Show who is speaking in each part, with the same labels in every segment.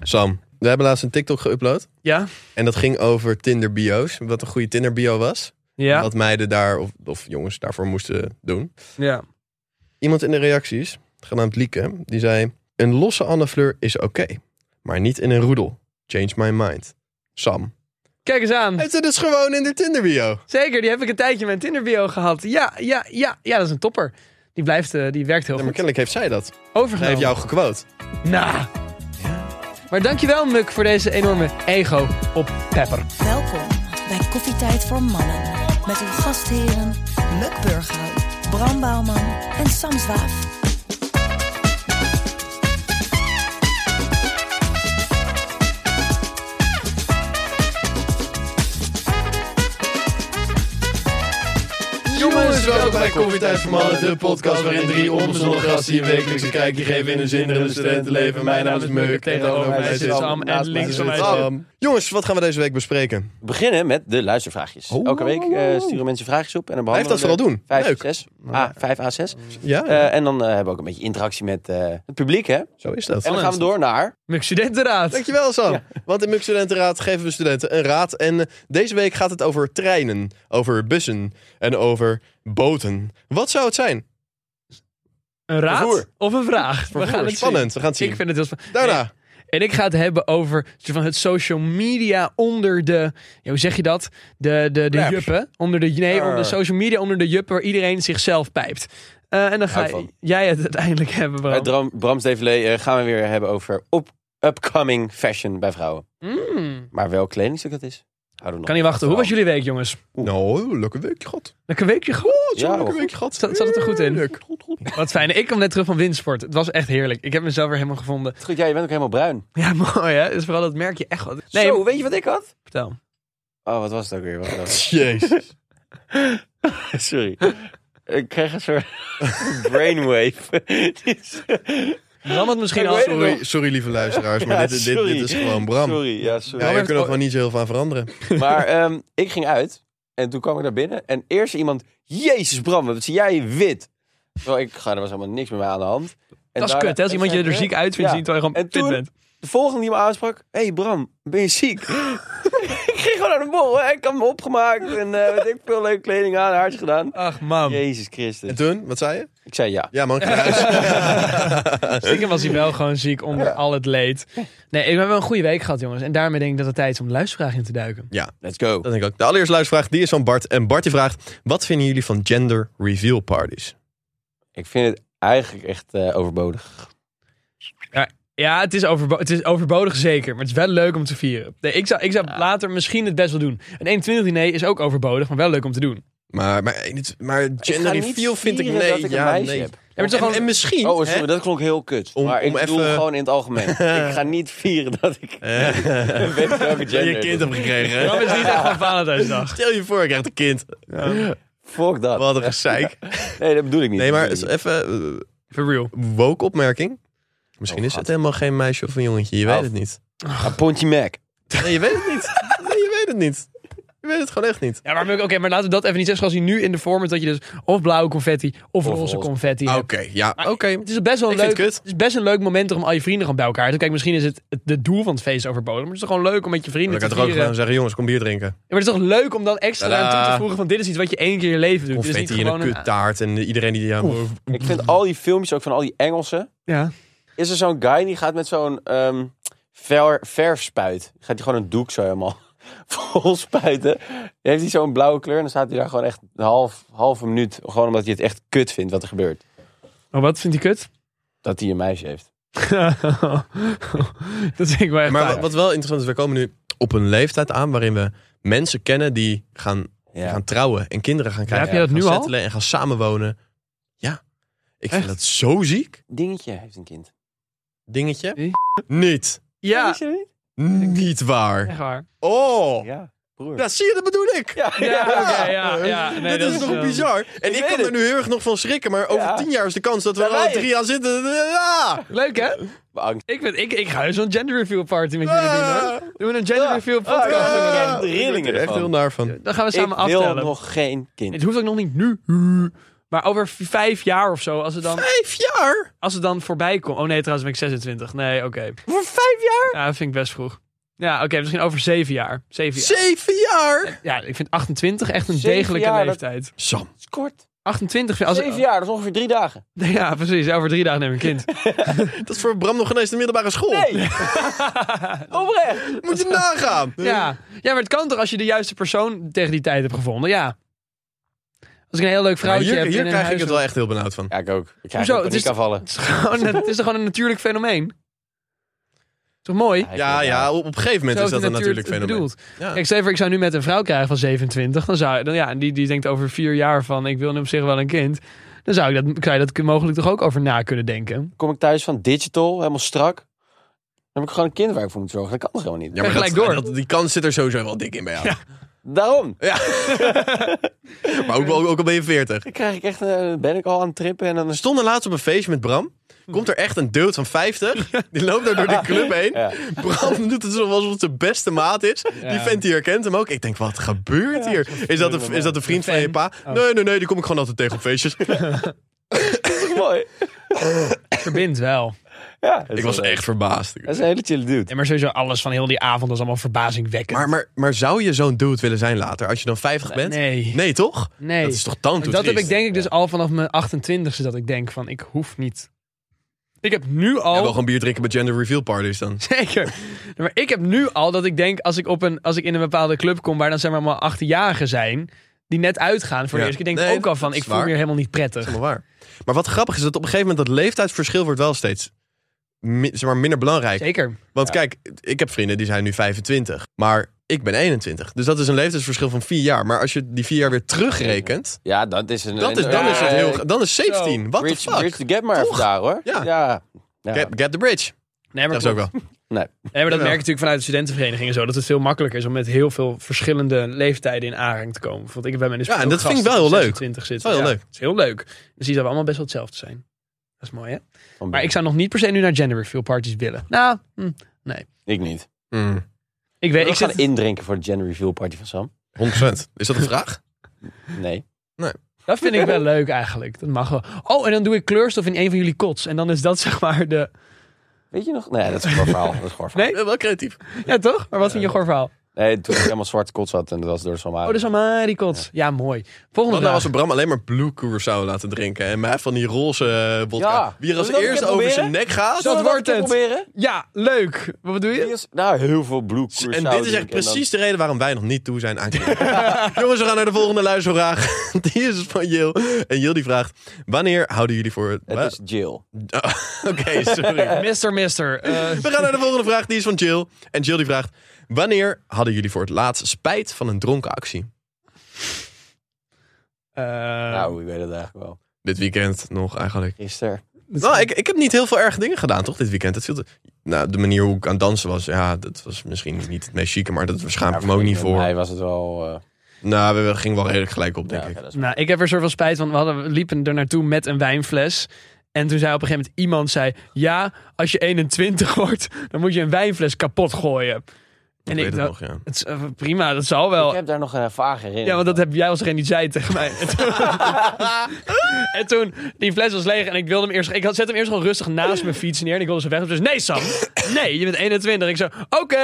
Speaker 1: Sam, we hebben laatst een TikTok geüpload.
Speaker 2: Ja?
Speaker 1: En dat ging over Tinder bio's. Wat een goede Tinder bio was.
Speaker 2: Ja?
Speaker 1: Wat meiden daar, of, of jongens daarvoor moesten doen.
Speaker 2: Ja.
Speaker 1: Iemand in de reacties, genaamd Lieke, die zei... Een losse Annefleur is oké, maar niet in een roedel. Change my mind. Sam.
Speaker 2: Kijk eens aan.
Speaker 1: Heeft ze dus gewoon in de Tinder bio.
Speaker 2: Zeker, die heb ik een tijdje in mijn Tinder bio gehad. Ja, ja, ja. Ja, dat is een topper. Die blijft, eh, die werkt heel
Speaker 1: Ja, maar
Speaker 2: goed.
Speaker 1: kennelijk heeft zij dat. Zij
Speaker 2: Overgenomen.
Speaker 1: heeft jou gequote.
Speaker 2: Nou. Maar dankjewel, Muk, voor deze enorme ego op Pepper.
Speaker 3: Welkom bij Koffietijd voor Mannen. Met uw gastheren Muk Burghuis, Bram Bouwman en Sam Zwaaf.
Speaker 1: Jongens, welkom bij Koffietijd voor Mannen, de podcast waarin drie onbezonnen gasten hier wekelijks een kijkje geven in hun zinderende studentenleven. Mijn naam is Meuk, tegenover mij zit
Speaker 2: Sam en
Speaker 1: naast mij
Speaker 2: links
Speaker 1: zit
Speaker 2: van mij
Speaker 1: Sam. ehm, Jongens, wat gaan we deze week bespreken?
Speaker 4: We beginnen met de luistervraagjes.
Speaker 1: Oh.
Speaker 4: Elke week eh, sturen mensen vraagjes op. En dan
Speaker 1: Blijf dat
Speaker 4: behandelen
Speaker 1: vooral doen.
Speaker 4: we er
Speaker 1: Leuk.
Speaker 4: Vijf, zes, A, vijf à zes.
Speaker 1: Ja,
Speaker 4: Eh, en dan eh, hebben we ook een beetje interactie met eh, het publiek. Hè? En
Speaker 1: zo is dat.
Speaker 4: dan gaan we door naar...
Speaker 2: Muk Studentenraad.
Speaker 1: Dankjewel Sam. Want in MUG Studentenraad geven we studenten een raad. En eh, deze week gaat het over treinen, over bussen en over boten. Wat zou het zijn?
Speaker 2: Een raad
Speaker 4: Vervoer.
Speaker 2: of een vraag? We gaan het
Speaker 1: Spannend, we gaan het
Speaker 2: zien. Ik
Speaker 1: zien.
Speaker 2: vind het heel spannend.
Speaker 1: Daarna.
Speaker 2: En ik ga het hebben over een soort van het social media onder de. Ja, hoe zeg je dat? De, de, de
Speaker 1: Raps.
Speaker 2: juppen. Onder de, nee, onder de social media onder de juppen waar iedereen zichzelf pijpt. Eh, en dan ga
Speaker 4: Hou van.
Speaker 2: jij het uiteindelijk hebben, Bram.
Speaker 4: Uit Bram, Brams Develé eh, gaan we weer hebben over op, upcoming fashion bij vrouwen.
Speaker 2: Mm.
Speaker 4: Maar welk kledingstuk dat is, houden we nog.
Speaker 2: Kan niet wachten. Hoe was jullie week, jongens?
Speaker 1: Nou, leuke weekje gehad.
Speaker 2: Lekker weekje goed.
Speaker 1: Zo'n
Speaker 4: Ja,
Speaker 1: leuke
Speaker 4: hoor.
Speaker 1: weekje gehad.
Speaker 2: Zat- zat het er goed in?
Speaker 1: Heerlijk. Goed, goed.
Speaker 2: Wat fijn. Ik kwam net terug van windsport. Het was echt heerlijk. Ik heb mezelf weer helemaal gevonden.
Speaker 4: Goed, jij bent ook helemaal bruin.
Speaker 2: Ja, mooi hè. Dus vooral dat merk je echt wat.
Speaker 4: Nee,
Speaker 2: Nee,
Speaker 4: Zo, weet je wat ik had?
Speaker 2: vertel.
Speaker 4: Oh, wat was het ook weer? Wacht even.
Speaker 1: Jezus.
Speaker 4: Sorry. Ik kreeg een soort brainwave. Dit is-
Speaker 2: Bram had misschien
Speaker 4: Ik
Speaker 2: al.
Speaker 4: weet het
Speaker 1: Sorry, sorry lieve luisteraars, maar
Speaker 4: Ja,
Speaker 1: dit, dit,
Speaker 4: sorry.
Speaker 1: dit is gewoon Bram.
Speaker 4: Sorry,
Speaker 1: Ja,
Speaker 4: ja, sorry.
Speaker 2: Bram
Speaker 1: daar
Speaker 2: heeft
Speaker 1: kunnen we
Speaker 2: o-
Speaker 1: gewoon niet zo heel veel aan veranderen.
Speaker 4: Maar ehm, ik ging uit en toen kwam ik naar binnen. En eerst iemand, jezus Bram, wat zie jij wit. Terwijl ik, ga, er was helemaal niks met mij aan de hand. En
Speaker 2: Dat is
Speaker 4: daarna-
Speaker 2: kut hè. Als
Speaker 4: ik
Speaker 2: iemand je
Speaker 4: zei,
Speaker 2: er
Speaker 4: "Hè?"
Speaker 2: ziek uit vindt
Speaker 4: Ja.
Speaker 2: zien terwijl je gewoon
Speaker 4: En
Speaker 2: fit
Speaker 4: toen-
Speaker 2: bent.
Speaker 4: De volgende die me aansprak, hé hey Bram, ben je ziek? ik ging gewoon naar de bol, hè. ik had me opgemaakt en eh weet ik veel leuke kleding aan, haartje gedaan.
Speaker 2: Ach Oh, man.
Speaker 4: Jezus Christus.
Speaker 1: En toen, wat zei je?
Speaker 4: Ik zei ja.
Speaker 1: Ja man, ik ga naar huis.
Speaker 2: Stiekem was hij wel gewoon ziek onder al het leed. Nee, ik heb wel een goede week gehad, jongens. En daarmee denk ik dat het tijd is om de luistervraag in te duiken.
Speaker 4: Let's go.
Speaker 1: Dat denk ik ook. De allereerste luistervraag, die is van Bart. En Bart die vraagt, wat vinden jullie van gender reveal parties?
Speaker 4: Ik vind het eigenlijk echt eh, overbodig.
Speaker 2: Ja, het is, overbo- het is overbodig zeker, maar het is wel leuk om te vieren. Nee, ik zou, ik zou later misschien het best wel doen. Een 21 diner is ook overbodig, maar wel leuk om te doen.
Speaker 1: Maar, maar, eh, niet- maar gender
Speaker 4: niet
Speaker 1: reveal vind ik
Speaker 4: vieren
Speaker 1: nee.
Speaker 4: dat ik een
Speaker 1: ja,
Speaker 4: meisje
Speaker 1: nee.
Speaker 4: heb.
Speaker 2: Ja, maar het
Speaker 1: en,
Speaker 2: is toch
Speaker 1: en
Speaker 2: gewoon-
Speaker 1: misschien.
Speaker 4: Oh,
Speaker 1: hè?
Speaker 4: sorry, dat klonk heel kut.
Speaker 1: Om-
Speaker 4: maar ik
Speaker 1: om
Speaker 4: bedoel
Speaker 1: even-
Speaker 4: gewoon in het algemeen. ik ga niet vieren dat ik weet welke
Speaker 1: Dat
Speaker 4: gender.
Speaker 1: je een kind
Speaker 4: ik
Speaker 1: hebt gekregen. hè?
Speaker 2: Dat is niet echt van Valentijnsdag.
Speaker 1: Stel je voor, ik krijg een kind.
Speaker 4: ben. Fuck dat.
Speaker 1: Wat een gezeik.
Speaker 4: Nee, dat bedoel ik niet.
Speaker 1: Nee, maar
Speaker 4: Dat bedoel ik
Speaker 1: even eh,
Speaker 2: For real.
Speaker 1: woke opmerking. Misschien
Speaker 4: Oh,
Speaker 1: is het
Speaker 4: God.
Speaker 1: helemaal geen meisje of een jongetje. Je weet
Speaker 4: Oh.
Speaker 1: het niet.
Speaker 4: niet. Ah, Pontje Mac.
Speaker 1: Nee, je weet het niet. Nee, je weet het niet. Je weet het gewoon echt niet.
Speaker 2: Ja, maar, Muk, oké, maar laten we dat even niet zeggen. Zoals hij nu in de vorm is, dat je dus of blauwe confetti of, roze
Speaker 4: roze.
Speaker 2: confetti
Speaker 1: Oké,
Speaker 2: hebt.
Speaker 1: ja, Oh.
Speaker 4: Ah,
Speaker 1: oké.
Speaker 2: Het is best wel
Speaker 1: Ik
Speaker 2: leuk.
Speaker 1: vind het kut.
Speaker 2: Het is best een leuk moment om al je vrienden gewoon bij elkaar te Kijk, misschien is het het de doel van het feest overbodig. Maar het is toch gewoon leuk om met je
Speaker 1: Dan
Speaker 2: vrienden
Speaker 1: kan
Speaker 2: te
Speaker 1: ik toch ook
Speaker 2: vieren.
Speaker 1: gewoon zeggen, jongens, kom bier drinken.
Speaker 2: Ja, maar het is toch leuk om dan extra
Speaker 1: Tadaa.
Speaker 2: aan toe te voegen van dit is iets wat je één keer in je leven
Speaker 4: Dus
Speaker 2: doet. Dit is niet
Speaker 1: Confetti in een
Speaker 2: gewoon
Speaker 1: kuttaart en iedereen die... Ja,
Speaker 4: Ik vind al die filmpjes, ook van al die Engelsen.
Speaker 2: Ja.
Speaker 4: Is er zo'n guy die gaat met zo'n ehm ver, verfspuit. Gaat hij gewoon een doek zo helemaal vol spuiten. Dan heeft hij zo'n blauwe kleur en dan staat hij daar gewoon echt een half, halve minuut. Gewoon omdat hij het echt kut vindt wat er gebeurt.
Speaker 2: Oh, wat vindt hij kut?
Speaker 4: Dat hij een meisje heeft.
Speaker 2: dat vind ik wel echt
Speaker 1: Maar
Speaker 2: waar.
Speaker 1: wat, wat wel interessant is, we komen nu op een leeftijd aan waarin we mensen kennen die gaan,
Speaker 4: Ja.
Speaker 1: gaan trouwen en kinderen gaan krijgen.
Speaker 2: heb je dat
Speaker 1: gaan
Speaker 2: nu al?
Speaker 1: settelen En gaan samenwonen. Ja, ik vind
Speaker 2: Echt?
Speaker 1: dat zo ziek.
Speaker 4: Dingetje heeft een kind.
Speaker 1: Dingetje.
Speaker 2: Wie?
Speaker 1: Niet.
Speaker 2: Ja,
Speaker 4: Wist je dat niet?
Speaker 1: Niet waar.
Speaker 2: echt waar.
Speaker 1: Oh.
Speaker 4: Ja, broer.
Speaker 1: Ja, zie je, dat bedoel ik.
Speaker 4: Ja,
Speaker 2: Ja, oké, ja, ja. Nee,
Speaker 1: Dit
Speaker 2: dat
Speaker 1: is
Speaker 2: is,
Speaker 1: nog
Speaker 2: eh,
Speaker 1: bizar. En ik,
Speaker 4: weet
Speaker 1: kan er
Speaker 4: het.
Speaker 1: nu heel erg nog van schrikken, maar over
Speaker 4: Ja.
Speaker 1: tien jaar is de kans dat we
Speaker 4: Daar
Speaker 1: er al
Speaker 4: wij
Speaker 1: drie aan zitten. Ja.
Speaker 2: Leuk hè?
Speaker 4: Angst.
Speaker 2: Ik, vind, ik, ik ga eens een gender reveal party met jullie doen hoor. Doen we een gender reveal podcast
Speaker 4: Ah, ja.
Speaker 2: inderdaad.
Speaker 4: echt rillingen
Speaker 1: Ik word er echt
Speaker 4: ervan.
Speaker 1: heel naar van.
Speaker 2: Dan gaan we
Speaker 4: Ik
Speaker 2: samen
Speaker 4: wil
Speaker 2: aftellen.
Speaker 4: nog geen kind.
Speaker 2: Het hoeft ook nog niet nu. Maar over v- vijf jaar of zo, als het dan,
Speaker 5: Vijf jaar?
Speaker 2: als het dan voorbij komt. Oh nee, trouwens ben ik 26. Nee, oké.
Speaker 5: Voor vijf jaar?
Speaker 2: Ja, dat vind ik best vroeg. Ja, oké, misschien over zeven jaar. Zeven jaar.
Speaker 5: Zeven jaar?
Speaker 2: Ja, ik vind 28 echt een
Speaker 4: Zeven
Speaker 2: degelijke
Speaker 4: jaar, dat-
Speaker 2: leeftijd.
Speaker 5: Sam.
Speaker 4: is kort.
Speaker 2: 28 vind- als
Speaker 4: Zeven jaar, dat is ongeveer drie dagen.
Speaker 2: Ja, precies. Over drie dagen neem ik een kind.
Speaker 1: Dat is voor Bram nog geen eens de middelbare school.
Speaker 4: Oprecht.
Speaker 1: Moet je nagaan.
Speaker 2: Ja. ja, maar het kan toch als je de juiste persoon tegen die tijd hebt gevonden? Ja. Als ik een heel leuk
Speaker 1: Maar
Speaker 2: vrouwtje
Speaker 1: Nou, hier
Speaker 2: heb.
Speaker 1: hier
Speaker 2: in een
Speaker 1: krijg ik
Speaker 2: huis-
Speaker 1: het wel echt heel benauwd van.
Speaker 4: Ja, ik ook. Ik krijg
Speaker 2: Hoezo? Het
Speaker 4: Hoezo?
Speaker 2: is-
Speaker 4: paniek aanvallen.
Speaker 2: Het is, gewoon, het is toch gewoon een natuurlijk fenomeen? Toch mooi?
Speaker 1: Ja, ja, op, op een gegeven moment is dat een natuurlijk fenomeen. Ja.
Speaker 2: Ik zei voor, ik zou nu met een vrouw krijgen van 27. Dan zou, dan, ja, en die, die denkt over vier jaar van, ik wil op zich wel een kind. Dan zou, ik dat, zou je dat mogelijk toch ook over na kunnen denken.
Speaker 4: Kom ik thuis van digital, helemaal strak. Dan heb ik gewoon een kind waar ik voor moet zorgen. Dat kan toch helemaal niet?
Speaker 1: Ja, maar
Speaker 2: Kijk
Speaker 1: dat-
Speaker 2: gelijk door.
Speaker 1: dat- die kans zit er sowieso wel dik in bij jou.
Speaker 4: Daarom.
Speaker 1: Maar ook, ook, ook al ben je 40.
Speaker 4: Dan krijg ik echt, eh, ben ik al aan het trippen en dan...
Speaker 1: We stonden laatst op een feestje met Bram. Komt er echt een dude van 50. Die loopt daar door de club heen.
Speaker 4: Ja.
Speaker 1: Bram doet het alsof alsof het zijn beste maat is. Die vent die herkent hem ook. Ik denk, wat gebeurt hier? Is dat een, is dat een vriend van je pa? Nee, nee, nee, die kom ik gewoon altijd tegen op feestjes.
Speaker 4: Mooi.
Speaker 2: Verbindt wel.
Speaker 4: Ja, dat is
Speaker 1: Ik was
Speaker 4: wel-
Speaker 1: echt verbaasd.
Speaker 4: Dat is een hele chill dude.
Speaker 2: Ja, maar sowieso alles van heel die avond was allemaal verbazingwekkend.
Speaker 1: Maar, maar, maar zou je zo'n dude willen zijn later, als je dan 50 bent?
Speaker 2: Nee.
Speaker 1: Nee, toch?
Speaker 2: Nee.
Speaker 1: Dat is toch dan
Speaker 2: dat heb ik denk ik dus al vanaf mijn 28ste dat ik denk van ik hoef niet. Ik heb nu al.
Speaker 1: Ja, wel gewoon bier drinken bij gender reveal parties dan.
Speaker 2: Zeker. Nee, Maar ik heb nu al dat ik denk als ik, op een, als ik in een bepaalde club kom waar dan zeg maar allemaal 18-jarigen zijn die net uitgaan voor
Speaker 1: Ja.
Speaker 2: de eerste keer, denk
Speaker 1: Nee,
Speaker 2: ik ook al
Speaker 1: dat
Speaker 2: van
Speaker 1: is
Speaker 2: ik voel
Speaker 1: waar.
Speaker 2: me hier helemaal niet prettig.
Speaker 1: helemaal waar. Maar wat grappig is dat op een gegeven moment dat leeftijdsverschil wordt wel steeds mi- zeg maar, minder belangrijk.
Speaker 2: Zeker.
Speaker 1: Want kijk, ik heb vrienden die zijn nu 25, maar ik ben 21. Dus dat is een leeftijdsverschil van 4 jaar. Maar als je die 4 jaar weer terugrekent,
Speaker 4: Ja, dat is een... Eh,
Speaker 1: dat is, dan is het heel dan is 17. Wat de
Speaker 4: Bridge, bridge
Speaker 1: fuck?
Speaker 4: the gap maar even
Speaker 1: Toch?
Speaker 4: daar, hoor.
Speaker 1: Ja.
Speaker 4: ja. Ja.
Speaker 1: Get, get the bridge.
Speaker 2: Nee, maar,
Speaker 1: Dat is ook
Speaker 2: klopt.
Speaker 1: wel.
Speaker 4: Nee.
Speaker 2: Nee, maar dat
Speaker 1: Jawel.
Speaker 2: merk je natuurlijk vanuit de studentenverenigingen zo dat het veel makkelijker is om met heel veel verschillende leeftijden in aanraking te komen. Want ik heb bij mijn
Speaker 1: Ja, en dat vind ik wel heel leuk.
Speaker 2: Zit.
Speaker 1: Dat is wel heel leuk.
Speaker 2: Het is heel leuk. Dan zie je dat we allemaal best wel hetzelfde zijn. Dat is mooi, hè?
Speaker 4: Van
Speaker 2: Maar ik zou nog niet per se nu naar gender reveal parties willen. Nou, hm,
Speaker 4: Ik niet.
Speaker 1: Mm,
Speaker 2: ik weet.
Speaker 4: Ik
Speaker 2: Ik
Speaker 4: gaan
Speaker 2: zit,
Speaker 4: indrinken voor de gender reveal party van Sam.
Speaker 1: 100%. Is dat een vraag?
Speaker 4: Nee.
Speaker 2: dat vind ik wel leuk eigenlijk. Dat mag wel. Oh, en dan doe ik kleurstof in een van jullie kots. En dan is dat zeg maar de.
Speaker 4: Weet je nog? Nee, dat is een goor verhaal. Dat is een goor verhaal.
Speaker 2: Nee?
Speaker 1: Ja, wel creatief.
Speaker 2: Ja, toch? Maar wat vind je goor verhaal?
Speaker 4: Nee, toen ik helemaal zwart kot zat en dat was door Sam
Speaker 2: Oh, dus allemaal die kots. Ja, mooi. Volgende
Speaker 1: Want nou
Speaker 2: vraag.
Speaker 1: was we Bram alleen maar blue curacao laten drinken en mij van die roze eh, vodka.
Speaker 4: Ja,
Speaker 1: Wie er als
Speaker 4: zullen we dat
Speaker 1: eerste
Speaker 4: een keer
Speaker 1: over zijn
Speaker 4: proberen?
Speaker 1: nek gaat.
Speaker 2: Zo- dat wordt het.
Speaker 4: proberen?
Speaker 2: Ja, leuk. Wat bedoel je?
Speaker 4: Die is- Nou, heel veel blue curacao
Speaker 1: En dit is echt
Speaker 4: drinken en dan-
Speaker 1: precies de reden waarom wij nog niet toe zijn aan knippen. Jongens, we gaan naar de volgende luistervraag. Die is van Jill. En Jill die vraagt, wanneer houden jullie voor... Wa- Oh,
Speaker 4: Het is Jill.
Speaker 1: Oké, sorry.
Speaker 2: Mister, mister. eh,
Speaker 1: We gaan naar de volgende vraag, die is van Jill. En Jill die vraagt, wanneer hadden jullie voor het laatst spijt van een dronken actie?
Speaker 2: eh,
Speaker 4: nou, ik weet het eigenlijk wel.
Speaker 1: Dit weekend nog eigenlijk.
Speaker 4: Gisteren.
Speaker 1: Nou, ik, ik heb niet heel veel erge dingen gedaan, toch, dit weekend? Het viel te- Nou, de manier hoe ik aan het dansen was, ja, dat was misschien niet het meest chique, maar dat schaam ik me ook niet voor.
Speaker 4: Hij was het wel... eh,
Speaker 1: Nou, we gingen wel redelijk gelijk op,
Speaker 4: ja,
Speaker 1: denk
Speaker 4: oké,
Speaker 1: ik.
Speaker 4: dat is-
Speaker 2: Nou, ik heb er zoveel spijt van. We, hadden, we liepen er naartoe met een wijnfles. En toen zei op een gegeven moment iemand zei... Ja, als je 21 wordt, dan moet je een wijnfles kapot gooien.
Speaker 1: Ik
Speaker 2: en
Speaker 1: weet
Speaker 2: ik
Speaker 1: het
Speaker 2: dacht,
Speaker 1: nog, ja.
Speaker 2: het is, eh, prima, dat zal wel.
Speaker 4: Ik heb daar nog een vage herinnering.
Speaker 2: Ja, want dat heb jij als geen die zei tegen mij. En toen, en toen, die fles was leeg en ik wilde hem eerst... Ik had, zet hem eerst gewoon rustig naast mijn fiets neer en ik wilde ze weg. Dus nee, Sam. Nee, je bent 21. Ik zei, oké.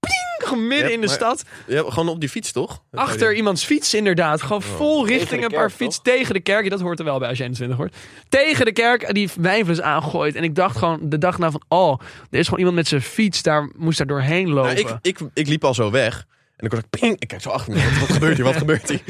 Speaker 2: pling, gewoon midden
Speaker 1: Ja,
Speaker 2: in de
Speaker 1: maar-
Speaker 2: stad.
Speaker 1: Ja, gewoon op die fiets, toch?
Speaker 2: Achter iemands fiets inderdaad. Gewoon
Speaker 1: Oh.
Speaker 2: vol richting
Speaker 4: de
Speaker 2: een paar
Speaker 4: kerk,
Speaker 2: fiets
Speaker 4: toch?
Speaker 2: tegen de kerk. Ja, Dat hoort er wel bij als je 21 hoort. Tegen de kerk die wijnfles aangooit. En ik dacht gewoon de dag na van... Oh, er is gewoon iemand met zijn fiets. Daar moest daar doorheen lopen.
Speaker 1: Nou, ik, ik, ik liep al zo weg. En ik hoorde ping. Ik kijk zo achter me. Wat, wat gebeurt hier? Wat gebeurt hier?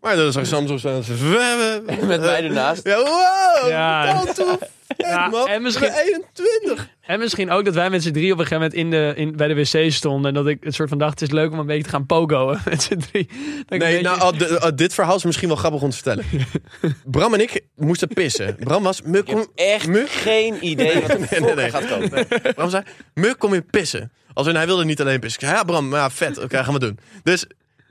Speaker 1: Maar dan zag Sam zo staan. zo, we- we-
Speaker 4: Met mij ernaast.
Speaker 1: Ja, wow.
Speaker 2: Ja.
Speaker 1: Ja. Toe.
Speaker 2: Ja,
Speaker 1: man,
Speaker 2: en misschien-
Speaker 1: ik ben 21.
Speaker 2: En misschien ook dat wij met z'n drie op een gegeven moment in de, in, bij de wc stonden. En dat ik het soort van dacht... Het is leuk om een beetje te gaan pogoen met z'n drie. Dat ik een
Speaker 1: Nee,
Speaker 2: beetje-
Speaker 1: nou, ah, d- ah, dit verhaal is misschien wel grappig om te vertellen. Bram en ik moesten pissen. Bram was... Me,
Speaker 4: Ik heb
Speaker 1: kom,
Speaker 4: echt
Speaker 1: me,
Speaker 4: geen idee wat er
Speaker 1: Nee, nee, nee.
Speaker 4: gaat komen.
Speaker 1: Bram zei, Muk, kom je pissen? Als in, hij wilde niet alleen pissen. Ik zei, ja, Bram, maar ja, vet. Oké, gaan we doen. Dus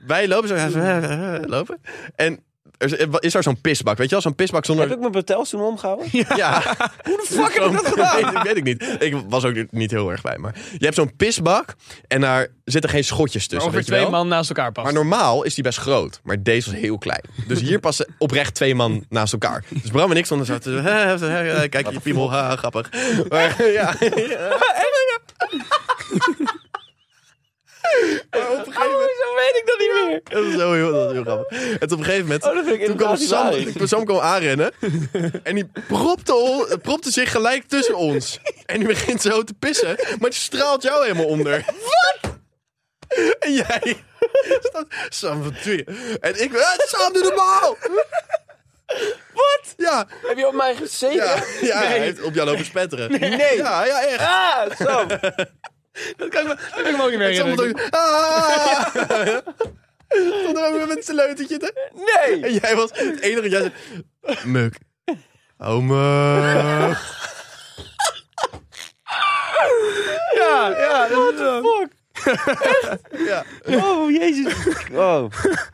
Speaker 1: wij lopen zo. Hij zei, eh, eh, eh, lopen. En Er is, is daar zo'n pisbak, weet je wel? Zo'n pisbak zonder...
Speaker 4: Heb ik mijn betels toen omgehouden?
Speaker 1: Ja. Hoe de fuck heb ik dat gedaan? Weet ik niet. Ik was ook niet heel erg bij, maar... Je hebt zo'n pisbak en daar zitten geen schotjes tussen,
Speaker 2: Over
Speaker 1: weet je wel?
Speaker 2: twee man naast elkaar
Speaker 1: Maar
Speaker 2: passen.
Speaker 1: normaal is die best groot. Maar deze was heel klein. Dus hier passen oprecht twee man naast elkaar. Dus Bram en ik stonden zo... te- hè, hè, hè, hè, Kijk, je piemel, ha, grappig. Maar, ja. Maar op een gegeven moment...
Speaker 4: Oh, Zo weet ik dat niet meer.
Speaker 1: Dat is heel, heel, dat is heel grappig. En op een gegeven moment...
Speaker 4: Oh, dat vind ik
Speaker 1: toen kwam
Speaker 4: inderdaad niet waar.
Speaker 1: Sam, toen Sam kwam aanrennen. En die propte, on- propte zich gelijk tussen ons. En die begint zo te pissen. Maar die straalt jou helemaal onder. Wat? En jij... staat, Sam, wat doe je? En ik... "Eh, Sam, doe normaal! Wat? Ja.
Speaker 4: Heb je op mij gezeten?
Speaker 1: Ja, ja hij heeft op jou lopen spetteren.
Speaker 4: Nee.
Speaker 1: Ja, ja, echt.
Speaker 4: Ah, zo.
Speaker 2: Dat kan ik me, dat kan ik me ook niet meer
Speaker 1: En Sam
Speaker 2: herinneren.
Speaker 1: stond ook... Ah! Stond er ook weer met een sleuteltje te...
Speaker 4: Nee.
Speaker 1: En jij was het enige dat jij zei... Muk. Oh, muk.
Speaker 2: Ja, ja. dat is wel-
Speaker 4: Fuck.
Speaker 1: Ja.
Speaker 4: Oh, jezus. Oh.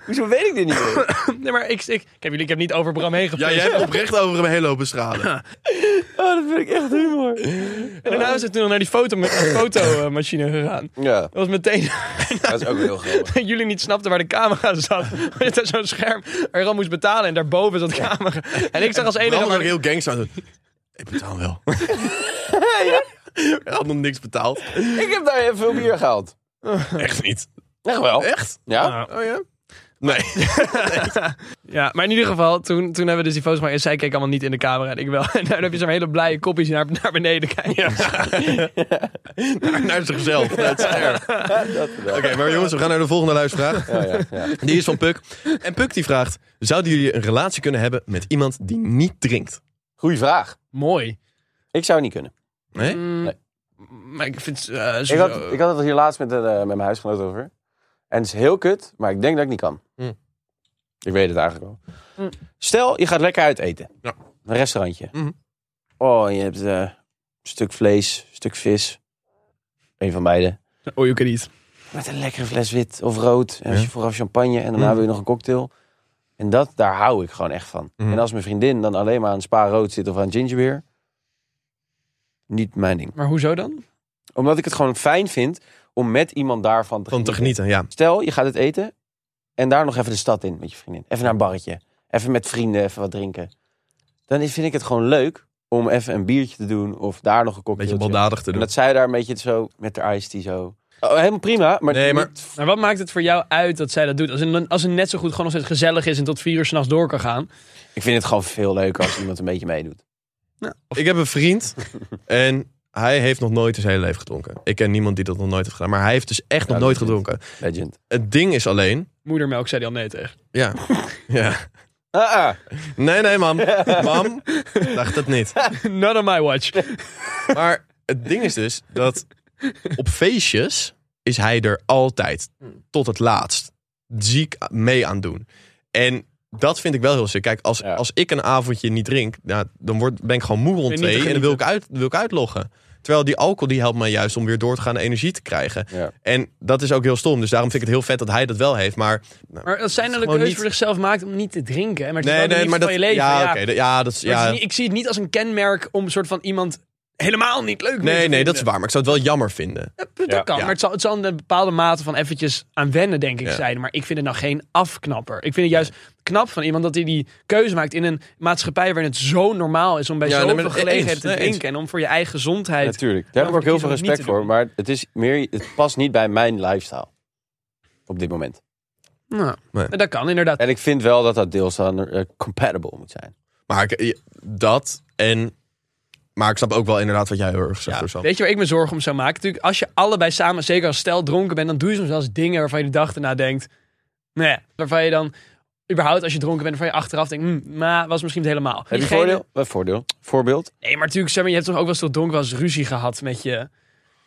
Speaker 4: Hoezo weet ik dit niet meer?
Speaker 2: Nee, maar ik, ik, ik, heb, jullie- ik heb niet over Bram heen
Speaker 1: Ja,
Speaker 2: gepraat.
Speaker 1: jij hebt oprecht over hem heen lopen stralen.
Speaker 4: Oh, dat vind ik echt humor.
Speaker 2: En daarna is het toen nog naar die foto, met- fotomachine gegaan.
Speaker 4: Ja,
Speaker 2: Dat was meteen
Speaker 4: dat is ook heel grappig.
Speaker 2: dat jullie niet snapten waar de camera zat. Er zat zo'n scherm waar je dan moest betalen en daarboven zat de camera. En ik zag als enige...
Speaker 1: Bram was
Speaker 2: maar-
Speaker 1: ook heel gangster. aan het doen. Ik betaal wel. Hij had nog niks betaald.
Speaker 4: Ik heb daar even veel bier gehaald.
Speaker 1: Echt niet.
Speaker 4: Echt wel?
Speaker 1: Echt?
Speaker 4: Ja?
Speaker 1: Oh ja? Nee.
Speaker 2: Ja, maar in ieder geval, toen, toen hebben we dus die foto's gemaakt. En zij keek allemaal niet in de camera en ik wel. En dan heb je zo'n hele blije kopjes naar, naar beneden kijken.
Speaker 1: Naar, naar zichzelf. Naar het scherm. Oké,
Speaker 4: Dat wel.
Speaker 1: maar jongens, we gaan naar de volgende luistervraag.
Speaker 4: Ja, ja, ja.
Speaker 1: Die is van Puk. En Puk die vraagt... Zouden jullie een relatie kunnen hebben met iemand die niet drinkt?
Speaker 4: Goeie vraag.
Speaker 2: Mooi.
Speaker 4: Ik zou het niet kunnen.
Speaker 1: Nee?
Speaker 2: Mm,
Speaker 4: Nee.
Speaker 2: Maar ik vind... eh,
Speaker 4: Ik
Speaker 2: sowieso-
Speaker 4: had, ik had het hier laatst met, een, eh, met mijn huisgenoot over. En het is heel kut, maar ik denk dat ik niet kan.
Speaker 1: Mm.
Speaker 4: Ik weet het eigenlijk wel.
Speaker 2: Mm.
Speaker 4: Stel, je gaat lekker uit eten.
Speaker 1: Ja.
Speaker 4: Een restaurantje.
Speaker 1: Mhm.
Speaker 4: Oh, en je hebt eh, een stuk vlees, een stuk vis. Een van beide.
Speaker 2: Oh, you can eat.
Speaker 4: Met een lekkere fles wit of rood. En als
Speaker 1: Ja.
Speaker 4: je vooraf champagne en daarna
Speaker 1: Mm.
Speaker 4: wil je nog een cocktail. En dat, daar hou ik gewoon echt van.
Speaker 1: Mm.
Speaker 4: En als mijn vriendin dan alleen maar aan spa rood zit of aan gingerbeer. Niet mijn ding.
Speaker 2: Maar hoezo dan?
Speaker 4: Omdat ik het gewoon fijn vind om met iemand daarvan te
Speaker 1: Van te genieten, ja.
Speaker 4: Stel, je gaat het eten en daar nog even de stad in met je vriendin. Even naar een barretje. Even met vrienden even wat drinken. Dan is- vind ik het gewoon leuk om even een biertje te doen of daar nog een cocktail
Speaker 1: Beetje baldadig te
Speaker 4: En
Speaker 1: doen.
Speaker 4: dat zij daar een beetje zo met haar iced tea zo. Oh, helemaal prima, maar,
Speaker 1: Nee, maar-
Speaker 4: niet-
Speaker 2: Maar wat maakt het voor jou uit dat zij dat doet? Als het, als het net zo goed gewoon nog steeds gezellig is en tot vier uur s'nachts door kan gaan.
Speaker 4: ik vind het gewoon veel leuker als iemand een beetje meedoet.
Speaker 1: Ik heb een vriend en hij heeft nog nooit in zijn hele leven gedronken. Ik ken niemand die dat nog nooit heeft gedaan, maar hij heeft dus echt
Speaker 4: Ja,
Speaker 1: nog nooit
Speaker 4: dat is
Speaker 1: gedronken.
Speaker 4: Legend.
Speaker 1: Het ding is alleen,
Speaker 2: Moedermelk zei die al nee tegen.
Speaker 1: ja, ja.
Speaker 4: Ah, ah.
Speaker 1: Nee, nee, mam. Mam, dacht het niet.
Speaker 2: Not on my watch.
Speaker 1: Maar het ding is dus dat op feestjes is hij er altijd tot het laatst ziek mee aan het doen. En dat vind ik wel heel sick. Kijk, als,
Speaker 4: Ja.
Speaker 1: als ik een avondje niet drink, nou, dan word, ben ik gewoon moe rond
Speaker 2: En niet te
Speaker 1: twee en dan wil ik,
Speaker 2: genieten.
Speaker 1: uit, wil ik uitloggen. Terwijl die alcohol die helpt mij juist om weer door te gaan en energie te krijgen.
Speaker 4: Ja.
Speaker 1: En dat is ook heel stom. Dus daarom vind ik het heel vet dat hij dat wel heeft. Maar
Speaker 2: Maar als zij nou de
Speaker 1: gewoon
Speaker 2: keuze
Speaker 1: niet-
Speaker 2: voor zichzelf maakt om niet te drinken. hè, Maar het is
Speaker 1: nee,
Speaker 2: wel de
Speaker 1: nee,
Speaker 2: liefde
Speaker 1: maar dat
Speaker 2: van je leven.
Speaker 1: ja,
Speaker 2: Ja,
Speaker 1: oké, dat- ja, dat is
Speaker 2: Maar het is
Speaker 1: ja.
Speaker 2: niet- ik zie het niet als een kenmerk om soort van iemand helemaal niet leuk meer te
Speaker 1: Nee, nee, dat is
Speaker 2: vinden.
Speaker 1: waar. Maar ik zou het wel jammer vinden.
Speaker 2: Ja, punt, Dat
Speaker 4: Ja.
Speaker 2: kan,
Speaker 1: Ja.
Speaker 2: maar het zal, het zal een bepaalde mate van eventjes aan wennen, denk ik,
Speaker 1: Ja.
Speaker 2: zijn. Maar ik vind het nou geen afknapper. Ik vind het juist knap van iemand dat hij die keuze maakt in een maatschappij waarin het zo normaal is om bij
Speaker 1: Ja, nee,
Speaker 2: zoveel
Speaker 1: maar eens,
Speaker 2: gelegenheden te
Speaker 1: nee, eens.
Speaker 2: drinken. En om voor je eigen gezondheid...
Speaker 4: Natuurlijk. Daar heb ik ook heel veel
Speaker 2: Waarom kies je om het niet
Speaker 4: respect
Speaker 2: te
Speaker 4: voor,
Speaker 2: doen?
Speaker 4: maar het, is meer, het past niet bij mijn lifestyle. Op dit moment.
Speaker 2: Nou,
Speaker 1: Nee.
Speaker 2: Dat kan inderdaad.
Speaker 4: En ik vind wel dat dat deels dan eh, compatible moet zijn.
Speaker 1: Maar ik- je- dat en. Maar ik snap ook wel inderdaad wat jij heel erg zegt.
Speaker 2: Ja,
Speaker 1: hoor, Sam.
Speaker 2: weet je waar ik me zorgen om zou maken? Natuurlijk, als je allebei samen, zeker als stel, dronken bent, dan doe je soms wel eens dingen waarvan je de dag erna denkt. Nee, waarvan je dan überhaupt als je dronken bent, waarvan je achteraf denkt, "Mm, maar was misschien niet helemaal.
Speaker 4: Heb je
Speaker 2: Diegene-
Speaker 4: voordeel? Wat voordeel? Voorbeeld?
Speaker 2: Nee, maar natuurlijk, zeg maar, je hebt toch ook wel eens tot donker wel eens ruzie gehad met je,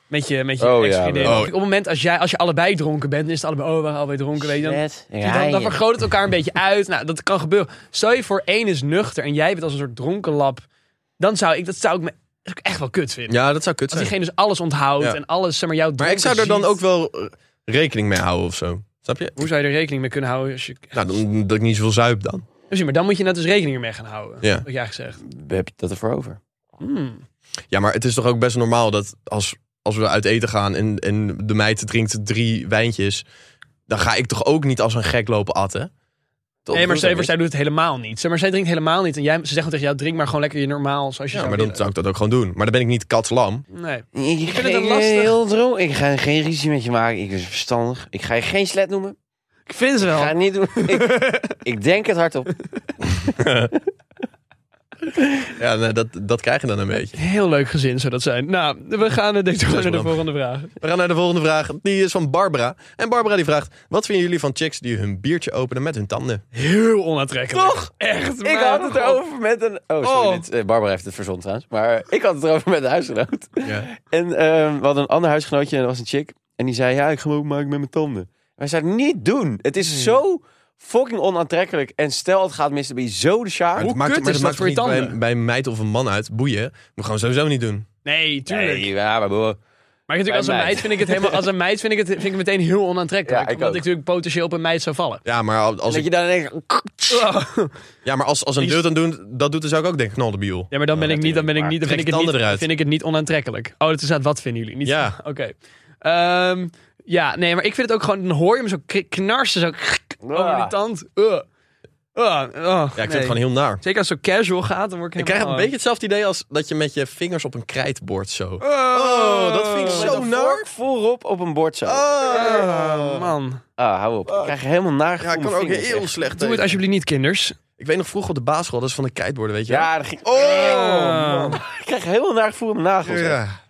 Speaker 2: met je, met je
Speaker 4: Oh, ja,
Speaker 2: ex-vriendin.
Speaker 1: wel.
Speaker 2: Want Op het moment als, jij, als je allebei dronken bent, dan is het allebei, oh, we zijn allebei dronken, weet je dan. Dan, dan vergroot het elkaar een beetje uit. Nou, dat kan gebeuren. Stel je voor, één is nuchter en jij bent als een soort dronken lap. Dan zou ik, dat zou ik me dat zou ik echt wel kut vinden.
Speaker 1: Ja, dat zou kut
Speaker 2: Als
Speaker 1: zijn.
Speaker 2: diegene dus alles onthoudt
Speaker 1: Ja.
Speaker 2: en alles, zeg maar, jouw
Speaker 1: Maar ik zou er
Speaker 2: dronken
Speaker 1: dan
Speaker 2: ziet.
Speaker 1: ook wel eh, rekening mee houden of zo. Snap je?
Speaker 2: Hoe zou je er rekening mee kunnen houden als je...
Speaker 1: Nou, dan, dat ik niet zoveel zuip dan.
Speaker 2: Dus ja, maar dan moet je net dus rekening ermee gaan houden.
Speaker 1: Ja.
Speaker 2: Wat jij gezegd.
Speaker 4: We hebben dat ervoor over.
Speaker 2: Hmm.
Speaker 1: Ja, maar het is toch ook best normaal dat als, als we uit eten gaan en, en de meid drinkt drie wijntjes, dan ga ik toch ook niet als een gek lopen atten? Dat
Speaker 2: Nee, maar
Speaker 1: bedoel
Speaker 2: zij,
Speaker 1: ik
Speaker 2: maar
Speaker 1: niet.
Speaker 2: zij doet het helemaal niet. Zeg Maar zij drinkt helemaal niet. En jij, ze zeggen tegen jou, drink maar gewoon lekker je normaal zoals je
Speaker 1: Ja,
Speaker 2: zou
Speaker 1: maar dan
Speaker 2: willen.
Speaker 1: zou ik dat ook gewoon doen. Maar dan ben ik niet katslam.
Speaker 2: Nee.
Speaker 4: Ik,
Speaker 2: vind het
Speaker 4: ga
Speaker 2: een lastig-
Speaker 4: heel droog. Ik ga geen ruzie met je maken. Ik ben verstandig. Ik ga je geen slet noemen.
Speaker 2: Ik vind ze
Speaker 4: Ik
Speaker 2: wel.
Speaker 4: ga het niet doen. ik, ik denk het hardop.
Speaker 1: Ja, nee, dat, dat krijg je dan een beetje.
Speaker 2: Heel leuk gezin zou dat zijn. Nou, we gaan eh, denk ik
Speaker 1: is
Speaker 2: gewoon naar de
Speaker 1: belangrijk.
Speaker 2: volgende vraag.
Speaker 1: We gaan naar de volgende vraag. Die is van Barbara. En Barbara die vraagt: Wat vinden jullie van chicks die hun biertje openen met hun tanden?
Speaker 2: Heel onaantrekkelijk.
Speaker 4: Toch?
Speaker 2: Echt.
Speaker 4: Ik
Speaker 2: maar-
Speaker 4: had het erover met een... Oh, sorry.
Speaker 2: Oh.
Speaker 4: Dit, eh, Barbara heeft het verzond trouwens. Maar eh, ik had het erover met een huisgenoot.
Speaker 1: Ja.
Speaker 4: En ehm, we hadden een ander huisgenootje en dat was een chick. En die zei, ja, ik ga me maken met mijn tanden. Wij zeiden, niet doen. Het
Speaker 2: Hmm.
Speaker 4: is zo fucking onaantrekkelijk. En stel, het gaat mis, dan ben je zo de sjaar.
Speaker 2: Hoe
Speaker 1: het maakt,
Speaker 2: kut
Speaker 1: maar
Speaker 2: is
Speaker 1: dat
Speaker 2: dat
Speaker 1: maakt
Speaker 2: voor je
Speaker 1: niet bij,
Speaker 2: tanden?
Speaker 1: bij een meid of een man uit. Boeien. Moet je gewoon sowieso niet doen.
Speaker 2: Nee, tuurlijk.
Speaker 4: Nee, ja, maar broer.
Speaker 2: Maar natuurlijk, als
Speaker 4: Bij
Speaker 2: een
Speaker 4: meid.
Speaker 2: meid vind ik het helemaal. Als een meid vind ik het, vind ik het meteen heel onaantrekkelijk.
Speaker 4: Ja, ik
Speaker 2: omdat
Speaker 4: ook.
Speaker 2: ik natuurlijk potentieel op een meid zou vallen.
Speaker 1: Ja, maar al- als,
Speaker 4: dat
Speaker 1: ik,
Speaker 4: je dan denkt,
Speaker 1: ja, maar als, als een
Speaker 2: Die-
Speaker 1: dude dat doet, dat doet, dan zou ik ook denken: knal de biel.
Speaker 2: Ja, maar dan ben ik niet, dan ben ik niet,
Speaker 1: Trek
Speaker 2: dan vind ik
Speaker 1: je
Speaker 2: het niet,
Speaker 1: tanden
Speaker 2: dan
Speaker 1: eruit.
Speaker 2: vind ik het niet onaantrekkelijk. Oh, dat is uit wat vinden jullie? Niet
Speaker 1: Ja.
Speaker 2: Oké. Ehm, ja, nee, maar ik vind het ook gewoon, dan hoor je hem zo kri- knarsen, zo over die tand. Uh. Uh. Uh.
Speaker 1: Ja, ik vind
Speaker 2: Nee.
Speaker 1: het gewoon heel naar.
Speaker 2: Zeker als het zo casual gaat, dan word ik
Speaker 1: Ik krijg een
Speaker 2: helemaal-
Speaker 1: beetje hetzelfde idee als dat je met je vingers op een krijt boort zo.
Speaker 2: Oh,
Speaker 1: dat vind ik zo
Speaker 4: Met een
Speaker 1: naar.
Speaker 4: vork voorop op een bord zo.
Speaker 1: Oh.
Speaker 2: Ah, man.
Speaker 4: Ah, hou op. Ik krijg helemaal naar
Speaker 1: Ja, ik kan ook heel slecht
Speaker 2: Doe het
Speaker 1: tegen.
Speaker 2: alsjeblieft niet, kinders.
Speaker 1: Ik weet nog vroeger op de basisschool, dat is van de krijtborden, weet je wel?
Speaker 4: Ja, dat ging... Oh,
Speaker 2: Ah.
Speaker 4: Ik krijg helemaal naar gevoel op mijn nagels. hè.
Speaker 1: Ja.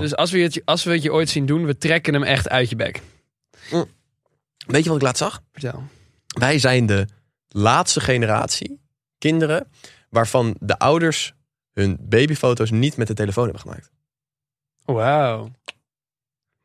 Speaker 2: Dus als we, het, als we het je ooit zien doen, we trekken hem echt uit je bek.
Speaker 1: Weet je wat ik laatst zag?
Speaker 2: Vertel.
Speaker 1: Wij zijn de laatste generatie kinderen waarvan de ouders hun babyfoto's niet met de telefoon hebben gemaakt.
Speaker 2: Wauw.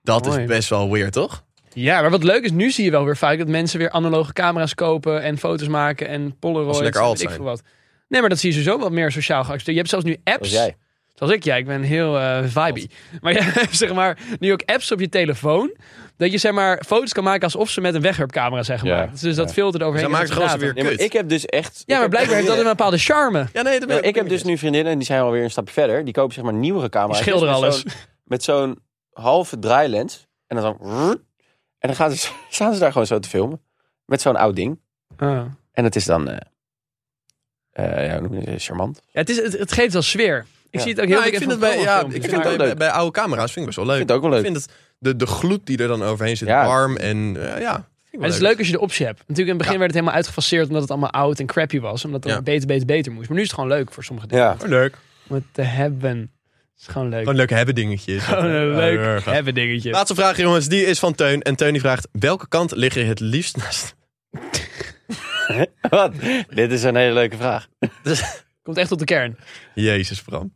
Speaker 1: Dat
Speaker 2: Mooi.
Speaker 1: is best wel weird, toch?
Speaker 2: Ja, maar wat leuk is, nu zie je wel weer vaak dat mensen weer analoge camera's kopen en foto's maken en
Speaker 1: Als
Speaker 2: Polaroids.
Speaker 1: ze lekker
Speaker 2: en
Speaker 1: alt
Speaker 2: weet ik
Speaker 1: zijn.
Speaker 2: veel wat. Nee, maar dat zie je sowieso wat meer sociaal geaccepteerd. Je hebt zelfs nu apps.
Speaker 4: Zoals jij.
Speaker 2: Zoals ik, ja, ik ben heel eh vibey. Maar je hebt zeg maar nu ook apps op je telefoon. Dat je zeg maar foto's kan maken alsof ze met een wegwerpcamera zijn
Speaker 4: Ja,
Speaker 2: gemaakt. Dus dat
Speaker 4: ja.
Speaker 2: filtert overheen.
Speaker 1: Zij maakt
Speaker 2: dat
Speaker 1: gewoon
Speaker 2: ze
Speaker 1: weer
Speaker 2: praten.
Speaker 4: Nee, maar
Speaker 1: kut.
Speaker 4: ik heb dus echt... ik
Speaker 2: Ja, maar
Speaker 4: heb
Speaker 2: blijkbaar heeft dat een bepaalde charme.
Speaker 1: Ja, nee, dat ben
Speaker 4: Nou, ik heb
Speaker 1: ben
Speaker 4: dus nu vriendinnen en die zijn alweer een stapje verder. Die kopen zeg maar nieuwere camera's.
Speaker 2: Die schilderen
Speaker 4: Met
Speaker 2: alles.
Speaker 4: zo'n- Met zo'n halve draailens. En dan zo... En dan gaan ze, staan ze daar gewoon zo te filmen. Met zo'n oud ding.
Speaker 2: Ah.
Speaker 4: En het is dan... eh eh, ja, hoe noem je het? Charmant.
Speaker 2: Ja, het, is, het, het geeft wel sfeer. Ik
Speaker 4: Ja.
Speaker 2: zie het ook heel
Speaker 1: Nou,
Speaker 2: veel
Speaker 1: ik
Speaker 2: keer
Speaker 1: vind het
Speaker 2: van
Speaker 1: bij, ja, ik
Speaker 2: filmpjes.
Speaker 1: vind
Speaker 4: Ja,
Speaker 1: het bij,
Speaker 4: leuk.
Speaker 1: bij- bij oude camera's vind ik best wel
Speaker 4: Ik
Speaker 1: leuk.
Speaker 4: vind het ook wel leuk.
Speaker 1: Ik vind het, de, de gloed die er dan overheen zit,
Speaker 4: Ja.
Speaker 1: warm en eh, ja. vind ik wel
Speaker 2: Maar het is leuk als je de optie hebt. Natuurlijk, in het begin werd het helemaal uitgefaseerd omdat het allemaal oud en crappy was. Omdat het
Speaker 1: Ja.
Speaker 2: dan beter, beter, beter moest. Maar nu is het gewoon leuk voor sommige dingen.
Speaker 4: Ja.
Speaker 1: Gewoon leuk.
Speaker 2: Om het te hebben. Het is gewoon leuk.
Speaker 1: Gewoon leuke hebben dingetjes.
Speaker 2: Gewoon een leuk
Speaker 1: Ja, ja.
Speaker 2: hebben dingetje.
Speaker 1: Laatste vraag, jongens. Die is van Teun. En Teun die vraagt, welke kant lig je het liefst naast?
Speaker 4: Wat? Dit is een hele leuke vraag.
Speaker 2: Komt echt tot de kern.
Speaker 1: Jezus, Bram.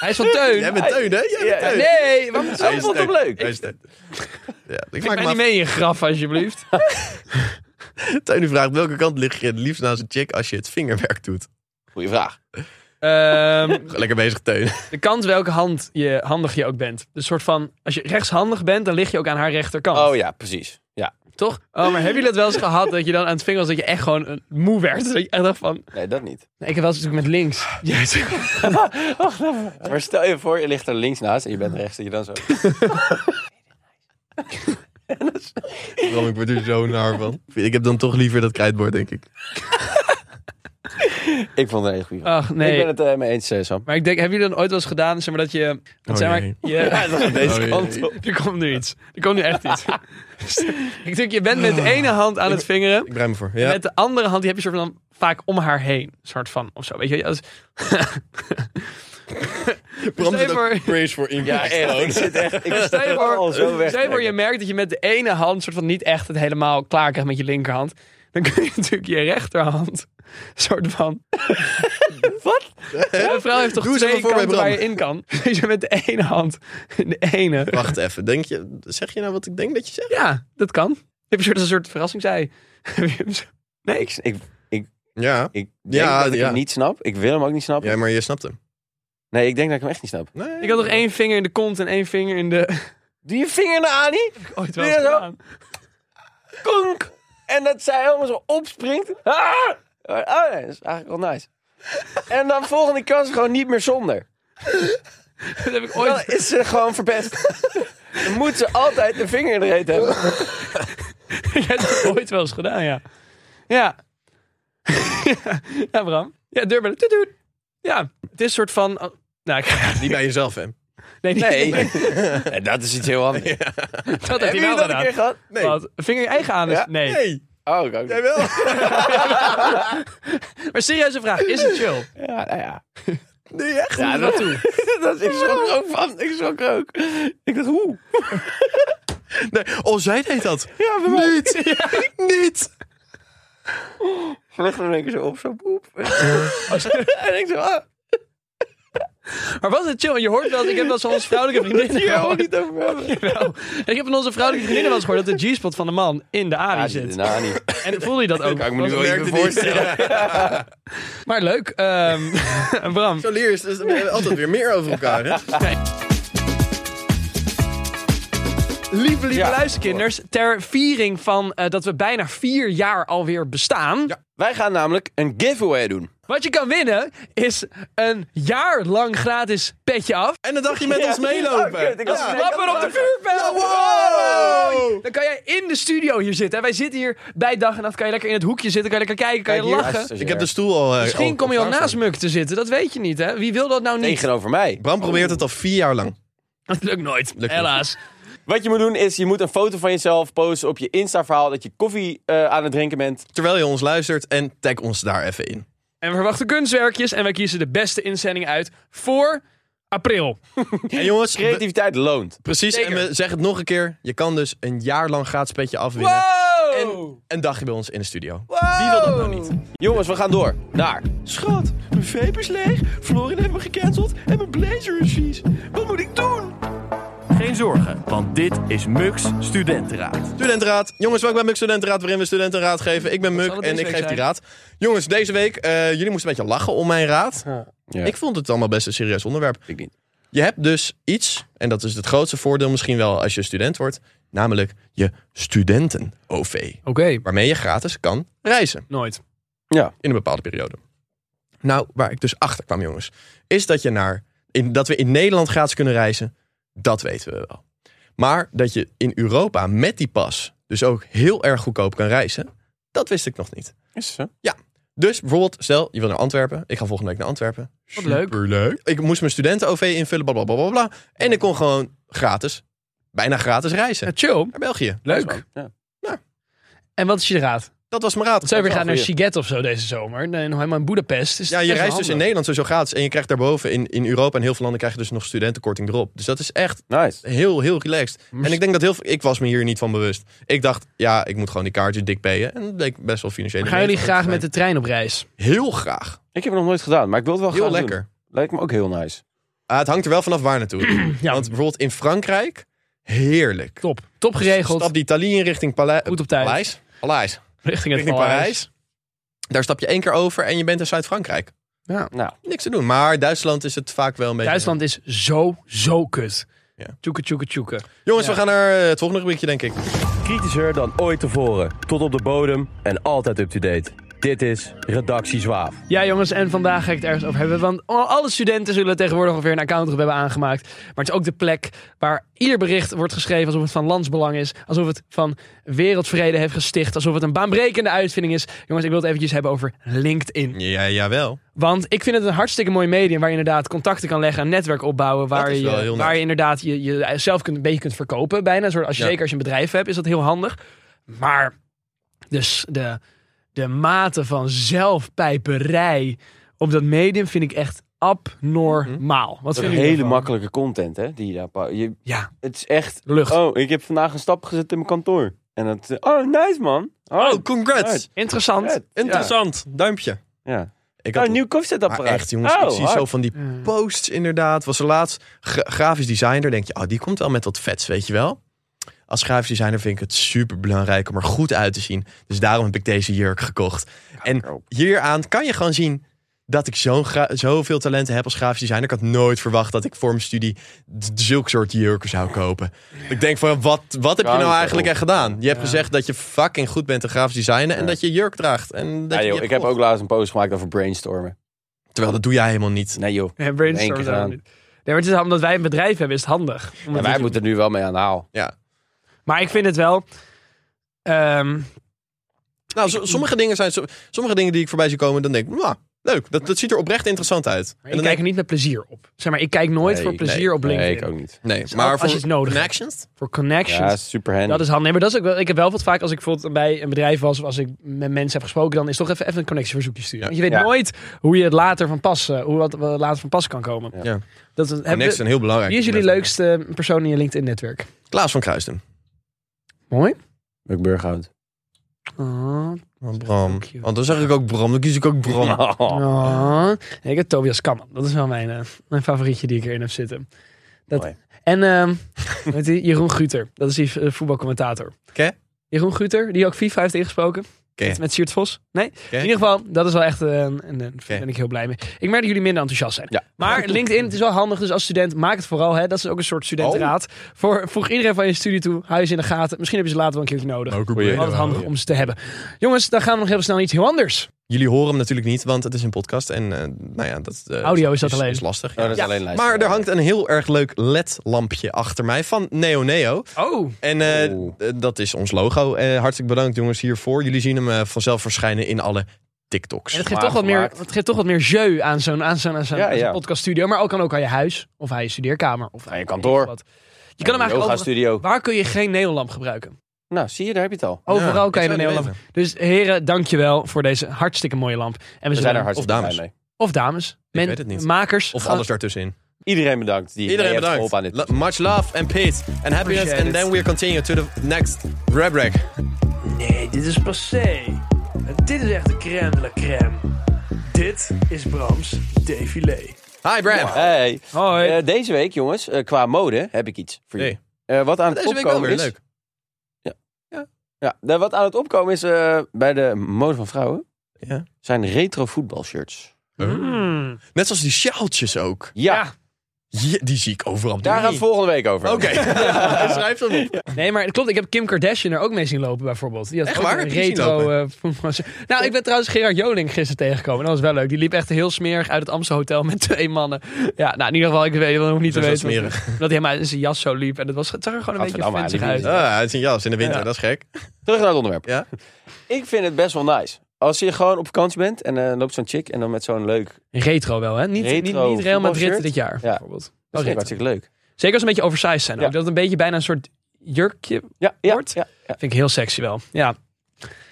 Speaker 2: Hij is van Teun.
Speaker 1: Jij bent Teun, hè? Jij bent
Speaker 4: Ja,
Speaker 1: Teun.
Speaker 2: Nee, waarom is
Speaker 1: Hij is
Speaker 4: vond hem
Speaker 1: Teun.
Speaker 4: leuk.
Speaker 1: Hij is Teun. Ja, ik
Speaker 2: Ik
Speaker 1: maak
Speaker 2: ben
Speaker 1: me
Speaker 2: niet
Speaker 1: af.
Speaker 2: mee in je graf, alsjeblieft.
Speaker 1: Teun die vraagt, welke kant lig je het liefst naast een chick als je het vingerwerk doet?
Speaker 4: Goeie vraag.
Speaker 2: Ehm,
Speaker 1: Lekker bezig, Teun.
Speaker 2: de kant welke hand je, handig je ook bent. Dus soort van, als je rechtshandig bent, dan lig je ook aan haar rechterkant.
Speaker 4: Oh ja, precies. Ja.
Speaker 2: Toch? Oh, maar hebben jullie dat wel eens gehad dat je dan aan het vingeren was dat je echt gewoon eh, moe werd? Dat je echt dacht van,
Speaker 4: Nee, dat niet.
Speaker 2: nee, ik heb wel eens natuurlijk met links. Jezus.
Speaker 4: Maar stel je voor, je ligt er links naast en je bent rechts. En je dan zo...
Speaker 1: Bram, ik word er zo naar van. Ik heb dan toch liever dat krijtbord, denk ik.
Speaker 4: Ik vond het een hele goede vraag.
Speaker 2: Ach Oh, nee.
Speaker 4: Ik ben het eh, mee eens, eh, Sam.
Speaker 2: Maar ik denk, hebben jullie dan ooit wel eens gedaan, zeg maar dat je...
Speaker 1: Oh,
Speaker 2: Want zeg maar,
Speaker 1: jee.
Speaker 2: je
Speaker 1: Oh,
Speaker 4: Deze
Speaker 1: jee.
Speaker 4: kant op.
Speaker 2: er komt nu iets. Er komt nu echt iets. ik denk, je bent met de ene hand aan het vingeren.
Speaker 1: Ik brei me voor.
Speaker 2: En
Speaker 1: Ja.
Speaker 2: met de andere hand, die heb je soort van vaak om haar heen. Soort van, of zo. Weet je, als,
Speaker 1: Bram
Speaker 2: Stel
Speaker 1: zit
Speaker 2: je
Speaker 1: ook
Speaker 2: voor-
Speaker 1: praise voor
Speaker 4: Ja,
Speaker 1: impact.
Speaker 4: echt. Ik zit echt... Ik
Speaker 2: Stel je voor,
Speaker 4: al zo weg.
Speaker 2: stel je, voor, je merkt dat je met de ene hand soort van niet echt het helemaal klaar krijgt met je linkerhand. Dan kun je natuurlijk je rechterhand soort van... Wat? Een vrouw heeft toch
Speaker 1: Doe eens
Speaker 2: twee
Speaker 1: even voor bij
Speaker 2: kanten waar je
Speaker 1: Bram.
Speaker 2: in kan. Dus je met de ene hand, de ene.
Speaker 1: Wacht even, denk je, zeg je nou wat ik denk dat je zegt?
Speaker 2: Ja, dat kan. Heb je een soort, een soort verrassingsei. Heb je hem zo-
Speaker 4: Nee, ik, ik,
Speaker 1: Ja.
Speaker 4: ik denk
Speaker 1: Ja,
Speaker 4: dat ik
Speaker 1: ja.
Speaker 4: hem niet snap. Ik wil hem ook niet snappen.
Speaker 1: Ja, maar je snapt hem.
Speaker 4: Nee, ik denk dat ik hem echt niet snap.
Speaker 1: Nee.
Speaker 2: Ik had nog één vinger in de kont en één vinger in de...
Speaker 4: Doe je vinger naar Annie.
Speaker 2: Ooit wel
Speaker 4: Ja, zo.
Speaker 2: gedaan.
Speaker 4: Konk. En dat zij helemaal zo opspringt. Ah! Gewoon, oh nee, dat is eigenlijk wel nice. En dan volgende kans gewoon niet meer zonder.
Speaker 2: Dat heb ik
Speaker 4: Dan
Speaker 2: ooit...
Speaker 4: is ze gewoon verpest. Dan moet ze altijd de vinger in de reet hebben.
Speaker 2: Ik heb dat ooit wel eens gedaan, ja. Ja. ja, Bram. Ja, deurbellen. Toet, toet. Ja, het is een soort van... oh, nou, ik-
Speaker 1: Niet bij jezelf, hè?
Speaker 2: nee, niet-
Speaker 4: Nee, Ja, dat is iets heel anders.
Speaker 2: dat heb je
Speaker 4: Hebben jullie
Speaker 2: wel
Speaker 4: dat een
Speaker 2: gedaan.
Speaker 4: keer gehad?
Speaker 1: Nee.
Speaker 2: Wat? Vinger je eigen aan?
Speaker 4: Ja?
Speaker 2: Nee.
Speaker 1: Nee,
Speaker 4: Oh, ik ook
Speaker 1: jij
Speaker 4: niet.
Speaker 1: wel.
Speaker 2: Maar serieuze vraag, is het chill?
Speaker 4: Ja, nou ja.
Speaker 1: Nee, echt?
Speaker 2: Ja, dat toe.
Speaker 4: Dat, ik schrok er ook van. Ik schrok er ook. Ik dacht, hoe?
Speaker 1: Nee. Oh, zij deed dat.
Speaker 4: Ja, bij mij.
Speaker 1: Niet. Niet.
Speaker 4: Ze legde in één keer zo op, zo poep. en ik zo, ah,
Speaker 2: Maar was het chill? En je hoort wel, ik heb wel zo'n vrouwelijke vriendin
Speaker 4: hier gaan we
Speaker 2: gehoord.
Speaker 4: het niet over hebben.
Speaker 2: Jawel. En ik heb van onze vrouwelijke vriendinnen wel eens gehoord dat de G-spot van de man in de
Speaker 4: Ja,
Speaker 2: arie
Speaker 4: die-
Speaker 2: zit.
Speaker 4: nou, niet.
Speaker 2: En voelde je dat ook?
Speaker 4: Kan ik me nu
Speaker 1: Dat
Speaker 4: wel
Speaker 1: merkte
Speaker 4: even
Speaker 1: niet.
Speaker 4: voorstellen.
Speaker 2: Maar leuk. ehm, Bram,
Speaker 1: Zo leer je dus we hebben altijd weer meer over elkaar, hè?
Speaker 2: lieve, lieve
Speaker 4: Ja.
Speaker 2: luisterkinders. Ter viering van eh, dat we bijna vier jaar alweer bestaan.
Speaker 4: Wij gaan namelijk een giveaway doen.
Speaker 2: Wat je kan winnen is een jaar lang gratis petje af.
Speaker 1: En dan dacht je met ons meelopen.
Speaker 4: Oh, kut, ik was
Speaker 1: Ja.
Speaker 4: vergeten.
Speaker 2: Klappen op de vuurpijl!
Speaker 1: Wow!
Speaker 2: Dan kan jij in de studio hier zitten. Wij zitten hier bij dag en nacht. Kan je lekker in het hoekje zitten, kan je lekker kijken, kan je
Speaker 4: Kijk hier,
Speaker 2: lachen.
Speaker 4: als- als
Speaker 1: Ik heb de
Speaker 4: er
Speaker 1: stoel al... eh,
Speaker 2: Misschien
Speaker 1: al-
Speaker 2: kom je al
Speaker 1: al
Speaker 2: naast Muk te zitten, dat weet je niet hè. Wie wil dat nou niet?
Speaker 4: Tegenover mij.
Speaker 1: Bram probeert het al vier jaar lang.
Speaker 2: Dat lukt nooit,
Speaker 1: Lukt
Speaker 2: helaas.
Speaker 4: Wat je moet doen is, je moet een foto van jezelf posten op je Insta-verhaal dat je koffie eh, aan het drinken bent.
Speaker 1: Terwijl je ons luistert en tag ons daar even in.
Speaker 2: En we verwachten kunstwerkjes en wij kiezen de beste inzending uit voor april.
Speaker 1: En jongens, we-
Speaker 4: Creativiteit loont.
Speaker 1: precies. En
Speaker 2: Zeker.
Speaker 1: we zeggen het nog een keer. Je kan dus een jaar lang gratis petje afwinnen. Oh! En een dagje bij ons in de studio. Wie wil dat nou niet?
Speaker 4: Jongens, we gaan door naar...
Speaker 6: Schat, mijn vape is leeg, Florin heeft me gecanceld en mijn blazer is vies. Wat moet ik doen? Geen zorgen, want dit is Mux Studentenraad.
Speaker 1: Studentenraad. Jongens, welkom bij Muk Studentenraad, waarin we studentenraad geven. Ik ben Muk
Speaker 2: zal het
Speaker 1: en
Speaker 2: deze
Speaker 1: ik
Speaker 2: week
Speaker 1: geef die
Speaker 2: zijn?
Speaker 1: raad. Jongens, deze week, eh, jullie moesten een beetje lachen om mijn raad.
Speaker 4: Ja.
Speaker 1: Ik vond het allemaal best een serieus onderwerp.
Speaker 4: Ik niet.
Speaker 1: Je hebt dus iets, en dat is het grootste voordeel misschien wel als je student wordt, namelijk je studenten-OV.
Speaker 2: Oké.
Speaker 1: Waarmee je gratis kan reizen
Speaker 2: Nooit.
Speaker 1: in een bepaalde periode. Nou, waar ik dus achter kwam, jongens, is dat je naar in, dat we in Nederland gratis kunnen reizen, dat weten we wel. Maar dat je in Europa met die pas dus ook heel erg goedkoop kan reizen, dat wist ik nog niet.
Speaker 4: Is zo?
Speaker 1: Dus bijvoorbeeld, stel je wil naar Antwerpen. Ik ga volgende week naar Antwerpen.
Speaker 2: Wat leuk.
Speaker 1: Superleuk. Ik moest mijn studenten-OV invullen, bla bla bla bla, bla. En ik kon gewoon gratis, bijna gratis reizen
Speaker 2: Ja, chill.
Speaker 1: naar België.
Speaker 2: Leuk.
Speaker 4: Ja.
Speaker 2: En wat is je raad?
Speaker 1: Dat was mijn raad.
Speaker 2: Zou je weer
Speaker 4: is
Speaker 2: gaan
Speaker 4: wel
Speaker 2: naar Shiget of zo deze zomer? Nee, nog helemaal in Boedapest. Is
Speaker 1: Ja, je
Speaker 2: best wel
Speaker 1: reist dus in
Speaker 2: handig.
Speaker 1: Nederland sowieso gratis. En je krijgt daarboven in, in Europa en heel veel landen krijg je dus nog studentenkorting erop. Dus dat is echt
Speaker 4: Nice.
Speaker 1: heel, heel relaxed. En ik denk dat heel veel... Ik was me hier niet van bewust. Ik dacht, ja, ik moet gewoon die kaartjes dik payen. En dat bleek best wel financieel.
Speaker 2: Gaan jullie graag met de trein op reis?
Speaker 1: Heel graag.
Speaker 4: Ik heb het nog nooit gedaan, maar ik wil het wel
Speaker 1: Heel
Speaker 4: graag
Speaker 1: lekker.
Speaker 4: doen. Lijkt me ook heel nice.
Speaker 1: Ah, het hangt er wel vanaf waar naartoe.
Speaker 2: Ja.
Speaker 1: Want bijvoorbeeld in Frankrijk, heerlijk.
Speaker 2: Top. Top geregeld.
Speaker 1: Stap die Thalys in richting Palais.
Speaker 2: Goed op tijd.
Speaker 1: Paleis. Paleis.
Speaker 2: Richting het
Speaker 1: Richting
Speaker 2: Parijs.
Speaker 1: Parijs. Daar stap je één keer over en je bent in Zuid-Frankrijk.
Speaker 4: Nou,
Speaker 1: Niks te doen. Maar Duitsland is het vaak wel een beetje...
Speaker 2: Duitsland is zo, zo kut.
Speaker 1: Ja.
Speaker 2: Tjoeke, tjoeke, tjoeke.
Speaker 1: Jongens,
Speaker 2: Ja.
Speaker 1: we gaan naar eh, het volgende rubriekje, denk ik.
Speaker 6: Kritischer dan ooit tevoren, tot op de bodem en altijd up-to-date. Dit is Redactie Zwaaf.
Speaker 2: Ja, jongens, en vandaag ga ik het ergens over hebben. Want alle studenten zullen tegenwoordig ongeveer een account hebben aangemaakt. Maar het is ook de plek waar ieder bericht wordt geschreven alsof het van landsbelang is. Alsof het van wereldvrede heeft gesticht. Alsof het een baanbrekende uitvinding is. Jongens, ik wil het eventjes hebben over LinkedIn.
Speaker 1: Ja, jawel.
Speaker 2: Want ik vind het een hartstikke mooi medium waar je inderdaad contacten kan leggen, een netwerk opbouwen. Waar,
Speaker 1: is wel heel
Speaker 2: je,
Speaker 1: nice.
Speaker 2: waar je inderdaad je, jezelf kunt, een beetje kunt verkopen. Bijna. Zo, als je,
Speaker 1: Ja.
Speaker 2: Zeker als je een bedrijf hebt, is dat heel handig. Maar dus de, de mate van zelfpijperij op dat medium vind ik echt abnormaal. Wat vind je
Speaker 4: hele makkelijke content, hè? Die je daar pa- je,
Speaker 2: Ja,
Speaker 4: het is echt...
Speaker 2: lucht.
Speaker 4: Oh, ik heb vandaag een stap gezet in mijn kantoor. En dat... eh, Oh, nice man. Oh,
Speaker 1: Oh, congrats.
Speaker 4: Right.
Speaker 2: Interessant.
Speaker 4: vet.
Speaker 1: Interessant. Duimpje.
Speaker 4: Ja.
Speaker 1: Ik
Speaker 4: Oh,
Speaker 1: had
Speaker 4: een nieuw
Speaker 1: maar
Speaker 4: koffiezetapparaat.
Speaker 1: echt, jongens, ik
Speaker 4: Oh,
Speaker 1: zie
Speaker 4: hard.
Speaker 1: zo van die posts inderdaad. Was er laatst gra- grafisch designer. Denk je, oh, die komt wel met wat vets, weet je wel. Als grafisch designer vind ik het super belangrijk om er goed uit te zien. Dus daarom heb ik deze jurk gekocht. En hieraan kan je gewoon zien dat ik zo'n gra- zoveel talenten heb als grafisch designer. Ik had nooit verwacht dat ik voor mijn studie d- zulke soort jurken zou kopen. Ik denk van, wat, wat heb je nou
Speaker 4: Kanker
Speaker 1: eigenlijk
Speaker 4: op.
Speaker 1: echt gedaan? Je hebt gezegd dat je fucking goed bent in grafisch designen en dat je jurk draagt. En dat
Speaker 4: Ja,
Speaker 1: je
Speaker 4: joh,
Speaker 1: die
Speaker 4: ik heb
Speaker 1: gekocht.
Speaker 4: ook laatst een post gemaakt over brainstormen.
Speaker 1: Terwijl dat doe jij helemaal niet.
Speaker 4: Nee joh.
Speaker 2: Ja,
Speaker 4: In één keer
Speaker 2: brainstormen
Speaker 4: gedaan.
Speaker 2: daarom niet. Nee, maar het is omdat wij een bedrijf hebben, is het handig. om
Speaker 4: En
Speaker 2: het te
Speaker 4: wij
Speaker 2: doen.
Speaker 4: moeten er nu wel mee aan de haal.
Speaker 1: Ja.
Speaker 2: Maar ik vind het wel... ehm,
Speaker 1: Nou, zo- sommige, dingen zijn, zo- sommige dingen die ik voorbij zie komen, dan denk ik, nou, leuk. Dat, dat ziet er oprecht interessant uit. En dan
Speaker 2: ik kijk
Speaker 1: denk
Speaker 2: er niet met plezier op. Zeg maar, ik kijk nooit
Speaker 4: Nee,
Speaker 2: voor plezier
Speaker 1: nee,
Speaker 2: op LinkedIn.
Speaker 4: Nee, ik ook niet.
Speaker 1: ik, nee,
Speaker 2: Dus
Speaker 1: maar
Speaker 2: als
Speaker 1: voor
Speaker 2: je het nodig hebt.
Speaker 1: connections?
Speaker 2: Voor connections.
Speaker 4: Ja, super handy.
Speaker 2: Dat is handig. Nee, maar dat is ook wel, ik heb wel wat vaak als ik bijvoorbeeld bij een bedrijf was of als ik met mensen heb gesproken, dan is toch even, even een connectieverzoekje sturen.
Speaker 1: Ja.
Speaker 2: Want je weet
Speaker 4: Ja.
Speaker 2: nooit hoe je het later van pas, eh, hoe wat, wat later van pas kan komen.
Speaker 4: Ja.
Speaker 1: Ja.
Speaker 2: Dat is, hebben
Speaker 1: Connecties
Speaker 2: we-
Speaker 1: zijn heel belangrijk.
Speaker 2: wie is jullie Oh,
Speaker 1: Met-
Speaker 2: leukste persoon in je LinkedIn-netwerk?
Speaker 1: Klaas van Kruisten.
Speaker 2: Mooi.
Speaker 4: Ook Burghout.
Speaker 2: Ah,
Speaker 1: Oh, Bram.
Speaker 2: Thank you.
Speaker 1: Want dan zeg ik ook Bram, dan kies ik ook Bram.
Speaker 2: ah.
Speaker 4: Oh.
Speaker 2: Nee, ik heb Tobias Kamman. Dat is wel mijn, eh, mijn favorietje die ik erin heb zitten. Dat,
Speaker 4: Mooi.
Speaker 2: En ehm, weet je, Jeroen Guter. Dat is die eh, voetbalcommentator.
Speaker 1: Ken?
Speaker 2: Jeroen Guter, die ook FIFA heeft ingesproken.
Speaker 1: Ken?
Speaker 2: Met, met Siert Vos. Nee?
Speaker 1: Ken?
Speaker 2: In ieder geval, dat is wel echt... eh, een- een- Daar ben ik heel blij mee. Ik merk dat jullie minder enthousiast zijn.
Speaker 4: Ja.
Speaker 2: Maar LinkedIn, het is wel handig. Dus als student, maak het vooral. Hè. Dat is ook een soort studentenraad.
Speaker 4: Oh.
Speaker 2: Voor, voeg iedereen van je studie toe. Hou je ze in de gaten. Misschien heb je ze later wel een keertje
Speaker 4: Oh,
Speaker 2: nodig. Altijd handig om ze te hebben. Jongens, dan gaan we nog heel snel naar iets heel anders.
Speaker 1: Jullie horen hem natuurlijk niet, want het is een podcast. En eh, nou ja, dat, eh,
Speaker 2: Audio is dat alleen.
Speaker 1: Is lastig.
Speaker 4: dat is
Speaker 1: Ja,
Speaker 4: alleen luisteren.
Speaker 1: maar er hangt een heel erg leuk LED-lampje achter mij van Neo Neo.
Speaker 2: Oh,
Speaker 1: En eh,
Speaker 4: Oeh.
Speaker 1: eh, dat is ons logo. Eh, hartelijk bedankt jongens hiervoor. Jullie zien hem eh, vanzelf verschijnen in alle TikToks.
Speaker 2: en het geeft, toch wat meer,
Speaker 4: Gemaakt.
Speaker 2: het geeft toch wat meer jeu aan zo'n aan zo'n aan zo'n
Speaker 4: Ja,
Speaker 2: aan zo'n
Speaker 4: ja.
Speaker 2: podcaststudio. Maar ook kan ook aan je huis of aan je studeerkamer. Of aan
Speaker 4: je kantoor.
Speaker 2: Wat. Je kan hem eigenlijk
Speaker 4: Yoga
Speaker 2: overal-
Speaker 4: studio.
Speaker 2: Waar kun je geen neonlamp gebruiken?
Speaker 4: Nou, zie je, daar heb je het al.
Speaker 2: Overal
Speaker 1: Ja,
Speaker 2: kan je
Speaker 1: ik
Speaker 2: een
Speaker 1: zou het
Speaker 2: neonlamp. Dus heren, dankjewel voor deze hartstikke mooie lamp. En we
Speaker 4: We zijn
Speaker 2: zullen,
Speaker 4: er hartstikke
Speaker 1: of
Speaker 4: blij
Speaker 1: dames.
Speaker 4: mee.
Speaker 2: of dames, men-
Speaker 1: weet het niet.
Speaker 2: makers.
Speaker 1: Of
Speaker 2: gaan-
Speaker 1: alles daartussenin.
Speaker 4: Iedereen bedankt die
Speaker 1: Iedereen
Speaker 4: mee heeft
Speaker 1: bedankt.
Speaker 4: geholpen aan dit.
Speaker 1: Lo- much love and peace and happiness.
Speaker 2: Appreciate
Speaker 1: And
Speaker 2: it.
Speaker 1: then we'll continue to the next rap rack.
Speaker 2: Nee, dit is passé. En dit is echt de crème de la crème. Dit is Brams défilé.
Speaker 1: Hi Bram.
Speaker 4: Hey.
Speaker 2: Hoi.
Speaker 4: Eh, deze week, jongens, eh, qua mode heb ik iets voor jullie. Eh, wat aan het
Speaker 1: Deze week wel
Speaker 4: opkomen
Speaker 1: weer
Speaker 4: is...
Speaker 1: leuk.
Speaker 4: Ja, de- wat aan het opkomen is eh, bij de mode van vrouwen...
Speaker 1: Ja.
Speaker 4: zijn retro voetbalshirts.
Speaker 2: Mm.
Speaker 1: Net zoals die sjaaltjes ook.
Speaker 4: Ja,
Speaker 2: Ja.
Speaker 1: Je- die zie ik overal. op de
Speaker 4: daar gaat
Speaker 1: menu.
Speaker 4: het volgende week over.
Speaker 1: Oké, schrijf hem op.
Speaker 2: Nee, maar het klopt. Ik heb Kim Kardashian er ook mee zien lopen, bijvoorbeeld. Die had
Speaker 1: Echt
Speaker 2: ook
Speaker 1: waar?
Speaker 2: een
Speaker 1: Heb je die zien
Speaker 2: retro. eh, nou, ik ben trouwens Gerard Joling gisteren tegengekomen. Dat was wel leuk. Die liep echt heel smerig uit het Amstel Hotel met twee mannen. Ja, nou, in ieder geval, ik weet nog niet te
Speaker 1: Dat is wel
Speaker 2: weten.
Speaker 1: smerig.
Speaker 2: Dat hij maar in zijn jas zo liep. En het, was, het zag er gewoon een beetje
Speaker 4: Gadverdamme,
Speaker 2: venzig
Speaker 4: hij liep
Speaker 2: uit.
Speaker 4: niet.
Speaker 1: Ah, het is een jas in de winter,
Speaker 2: Ja.
Speaker 1: dat is gek.
Speaker 4: Terug naar het onderwerp.
Speaker 1: Ja.
Speaker 4: Ik vind het best wel nice. Als je gewoon op vakantie bent en eh, loopt zo'n chick en dan met zo'n leuk...
Speaker 2: Oh, Retro wel, hè? Niet,
Speaker 4: Retro
Speaker 2: niet, niet Real Madrid
Speaker 4: voetbalshirt.
Speaker 2: dit jaar,
Speaker 4: Ja.
Speaker 2: bijvoorbeeld.
Speaker 4: Dat
Speaker 2: Wel
Speaker 4: vind ik
Speaker 2: retro.
Speaker 4: hartstikke leuk.
Speaker 2: Zeker als ze een beetje oversized zijn.
Speaker 4: Ja.
Speaker 2: Ook dat het een beetje bijna een soort jurkje
Speaker 4: Ja, ja,
Speaker 2: Wordt?
Speaker 4: ja, ja,
Speaker 2: vind ik heel sexy wel. Ja.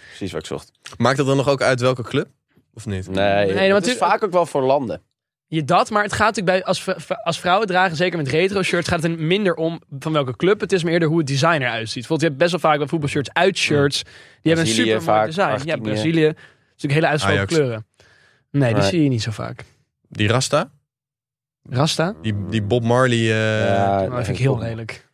Speaker 4: precies wat ik zocht.
Speaker 1: Maakt dat dan nog ook uit welke club? Of niet?
Speaker 4: Nee,
Speaker 2: maar
Speaker 4: het is
Speaker 2: natuurlijk-
Speaker 4: vaak ook wel voor landen.
Speaker 2: Je dat, maar het gaat natuurlijk bij, als, v- als vrouwen dragen, zeker met retro shirts, gaat het minder om van welke club. Het is maar eerder hoe het design eruit ziet. Bijvoorbeeld, je hebt best wel vaak bij voetbalshirts uitshirts. Die hebben een
Speaker 4: Brazilië
Speaker 2: super mooi
Speaker 4: vaak,
Speaker 2: design. Ja,
Speaker 4: Argentinië.
Speaker 2: Brazilië. Dat is natuurlijk hele uitgesproken
Speaker 1: Ajax.
Speaker 2: kleuren. Nee, die
Speaker 4: Nee.
Speaker 2: zie je niet zo vaak.
Speaker 1: Die Rasta?
Speaker 2: Rasta? Oh,
Speaker 1: Die, die Bob Marley? eh,
Speaker 4: Ja,
Speaker 2: nou, dat
Speaker 4: nee,
Speaker 2: vind ik heel
Speaker 4: kom.
Speaker 2: lelijk.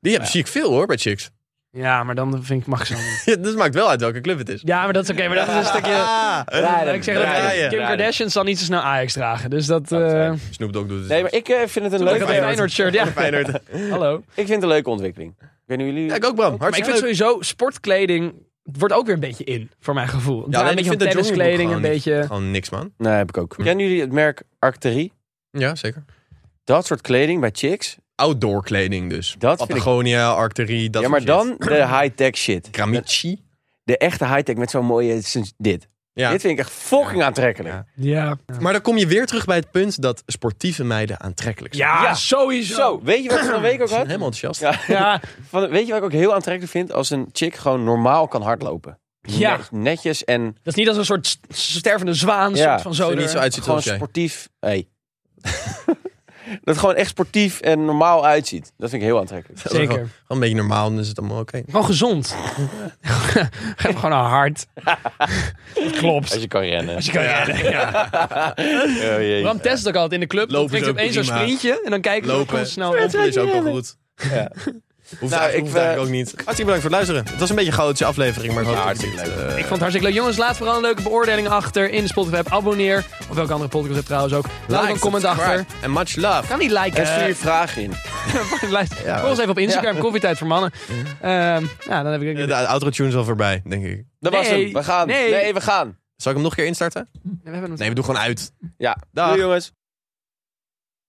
Speaker 1: Die hebben, zie ik veel hoor, bij chicks.
Speaker 2: Ja, maar dan vind ik, mag ik zo niet.
Speaker 1: Ja, dus het maakt wel uit welke club het is.
Speaker 2: Ja, maar dat is oké. maar dat is een stukje...
Speaker 1: Ah,
Speaker 4: Draaien,
Speaker 2: Ik zeg dat
Speaker 1: draaien.
Speaker 2: Kim Kardashian zal niet zo snel Ajax dragen. Dus dat... eh
Speaker 4: Dat zou
Speaker 2: dat
Speaker 4: zijn.
Speaker 1: Snoop Dogg doet het.
Speaker 4: Nee, maar ik eh, vind het een
Speaker 2: een
Speaker 4: leuke,
Speaker 1: Feyenoord.
Speaker 2: Feyenoord shirt, ja.
Speaker 1: Feyenoord.
Speaker 2: eh, Hallo.
Speaker 4: ik vind het een leuke ontwikkeling. Ik weet niet hoe jullie...
Speaker 1: Ja, ik ook Bram.
Speaker 2: Maar ik
Speaker 1: Hartstikke
Speaker 2: vind
Speaker 1: leuk.
Speaker 2: sowieso sportkleding wordt ook weer een beetje in, voor mijn gevoel. Ja,
Speaker 1: alleen
Speaker 2: een beetje
Speaker 1: ik
Speaker 2: van
Speaker 1: vind dat jongeren
Speaker 2: tenniskleding,
Speaker 1: ook
Speaker 2: een
Speaker 1: gewoon
Speaker 2: beetje.
Speaker 1: Gewoon niks man.
Speaker 4: Nee, heb ik ook. Kennen jullie het merk Arcterie?
Speaker 1: Ja, zeker.
Speaker 4: Dat soort kleding bij chicks.
Speaker 1: Outdoor kleding dus.
Speaker 4: Dat vind ik-
Speaker 1: Patagonia, Arcterie, dat
Speaker 4: ja, maar
Speaker 1: soort shit.
Speaker 4: dan de high-tech shit.
Speaker 1: Gramici.
Speaker 4: De echte high-tech met zo'n mooie... Dit.
Speaker 1: Ja.
Speaker 4: Dit vind ik echt fucking aantrekkelijk.
Speaker 1: Ja.
Speaker 2: Ja.
Speaker 1: Maar dan kom je weer terug bij het punt dat sportieve meiden aantrekkelijk zijn.
Speaker 2: Ja,
Speaker 4: Ja.
Speaker 2: sowieso.
Speaker 4: Zo, weet je wat ik van de week ook
Speaker 1: Ik ben
Speaker 4: had?
Speaker 1: helemaal enthousiast.
Speaker 4: Ja,
Speaker 2: Ja,
Speaker 4: van de- weet je wat ik ook heel aantrekkelijk vind? Als een chick gewoon normaal kan hardlopen.
Speaker 2: Ja.
Speaker 4: Net- netjes en
Speaker 2: dat is niet als een soort st- stervende zwaan,
Speaker 4: Ja,
Speaker 2: soort van zo.
Speaker 1: er niet
Speaker 2: er-
Speaker 1: zo uitziet
Speaker 4: gewoon
Speaker 1: als jij.
Speaker 4: sportief. Hey. dat gewoon echt sportief en normaal uitziet. Dat vind ik heel aantrekkelijk.
Speaker 1: Dat is
Speaker 2: Zeker.
Speaker 1: Gewoon, gewoon een beetje normaal, dan is het allemaal oké.
Speaker 2: Gewoon gezond. Geef hem gewoon een hart. Dat klopt.
Speaker 4: Als je kan rennen.
Speaker 2: Als je kan rennen. Ja. Bram test het ook altijd in de club.
Speaker 1: Lopen
Speaker 2: dan
Speaker 1: is
Speaker 2: drinkt hij opeens
Speaker 1: ook
Speaker 2: zo'n
Speaker 1: prima.
Speaker 2: sprintje. En dan kijken we
Speaker 1: Lopen,
Speaker 2: hoe snel op.
Speaker 1: is ook al goed. Hoeft,
Speaker 4: Nou,
Speaker 1: eigenlijk-
Speaker 4: ik,
Speaker 1: hoeft
Speaker 4: eh,
Speaker 1: eigenlijk ook niet. Hartstikke bedankt voor het luisteren. Het was een beetje een chaotische aflevering, maar ik hoop
Speaker 4: Ja,
Speaker 1: dat jullie het, eh,
Speaker 4: hartstikke
Speaker 2: Ik vond het hartstikke leuk. Jongens, laat vooral een leuke beoordeling achter in de Spotify-app. Abonneer. Of welke andere podcast heb trouwens ook. Laat ook
Speaker 1: like,
Speaker 2: een comment
Speaker 1: subscribe
Speaker 2: achter.
Speaker 1: En much love.
Speaker 2: Kan niet liken.
Speaker 4: En stuur je
Speaker 2: Eh,
Speaker 4: vragen in.
Speaker 2: lijst. Volg ons even op Instagram. Koffietijd voor mannen. Ehm ja, dan heb ik...
Speaker 1: De, de outro-tune is al voorbij, denk ik.
Speaker 4: Dat was
Speaker 2: nee,
Speaker 4: hem. We gaan.
Speaker 2: nee.
Speaker 4: Nee, we gaan.
Speaker 1: Zal ik hem nog een keer instarten?
Speaker 2: We hebben hem
Speaker 1: Nee, we doen gewoon uit.
Speaker 4: Ja.
Speaker 1: Dag.
Speaker 4: Doei jongens.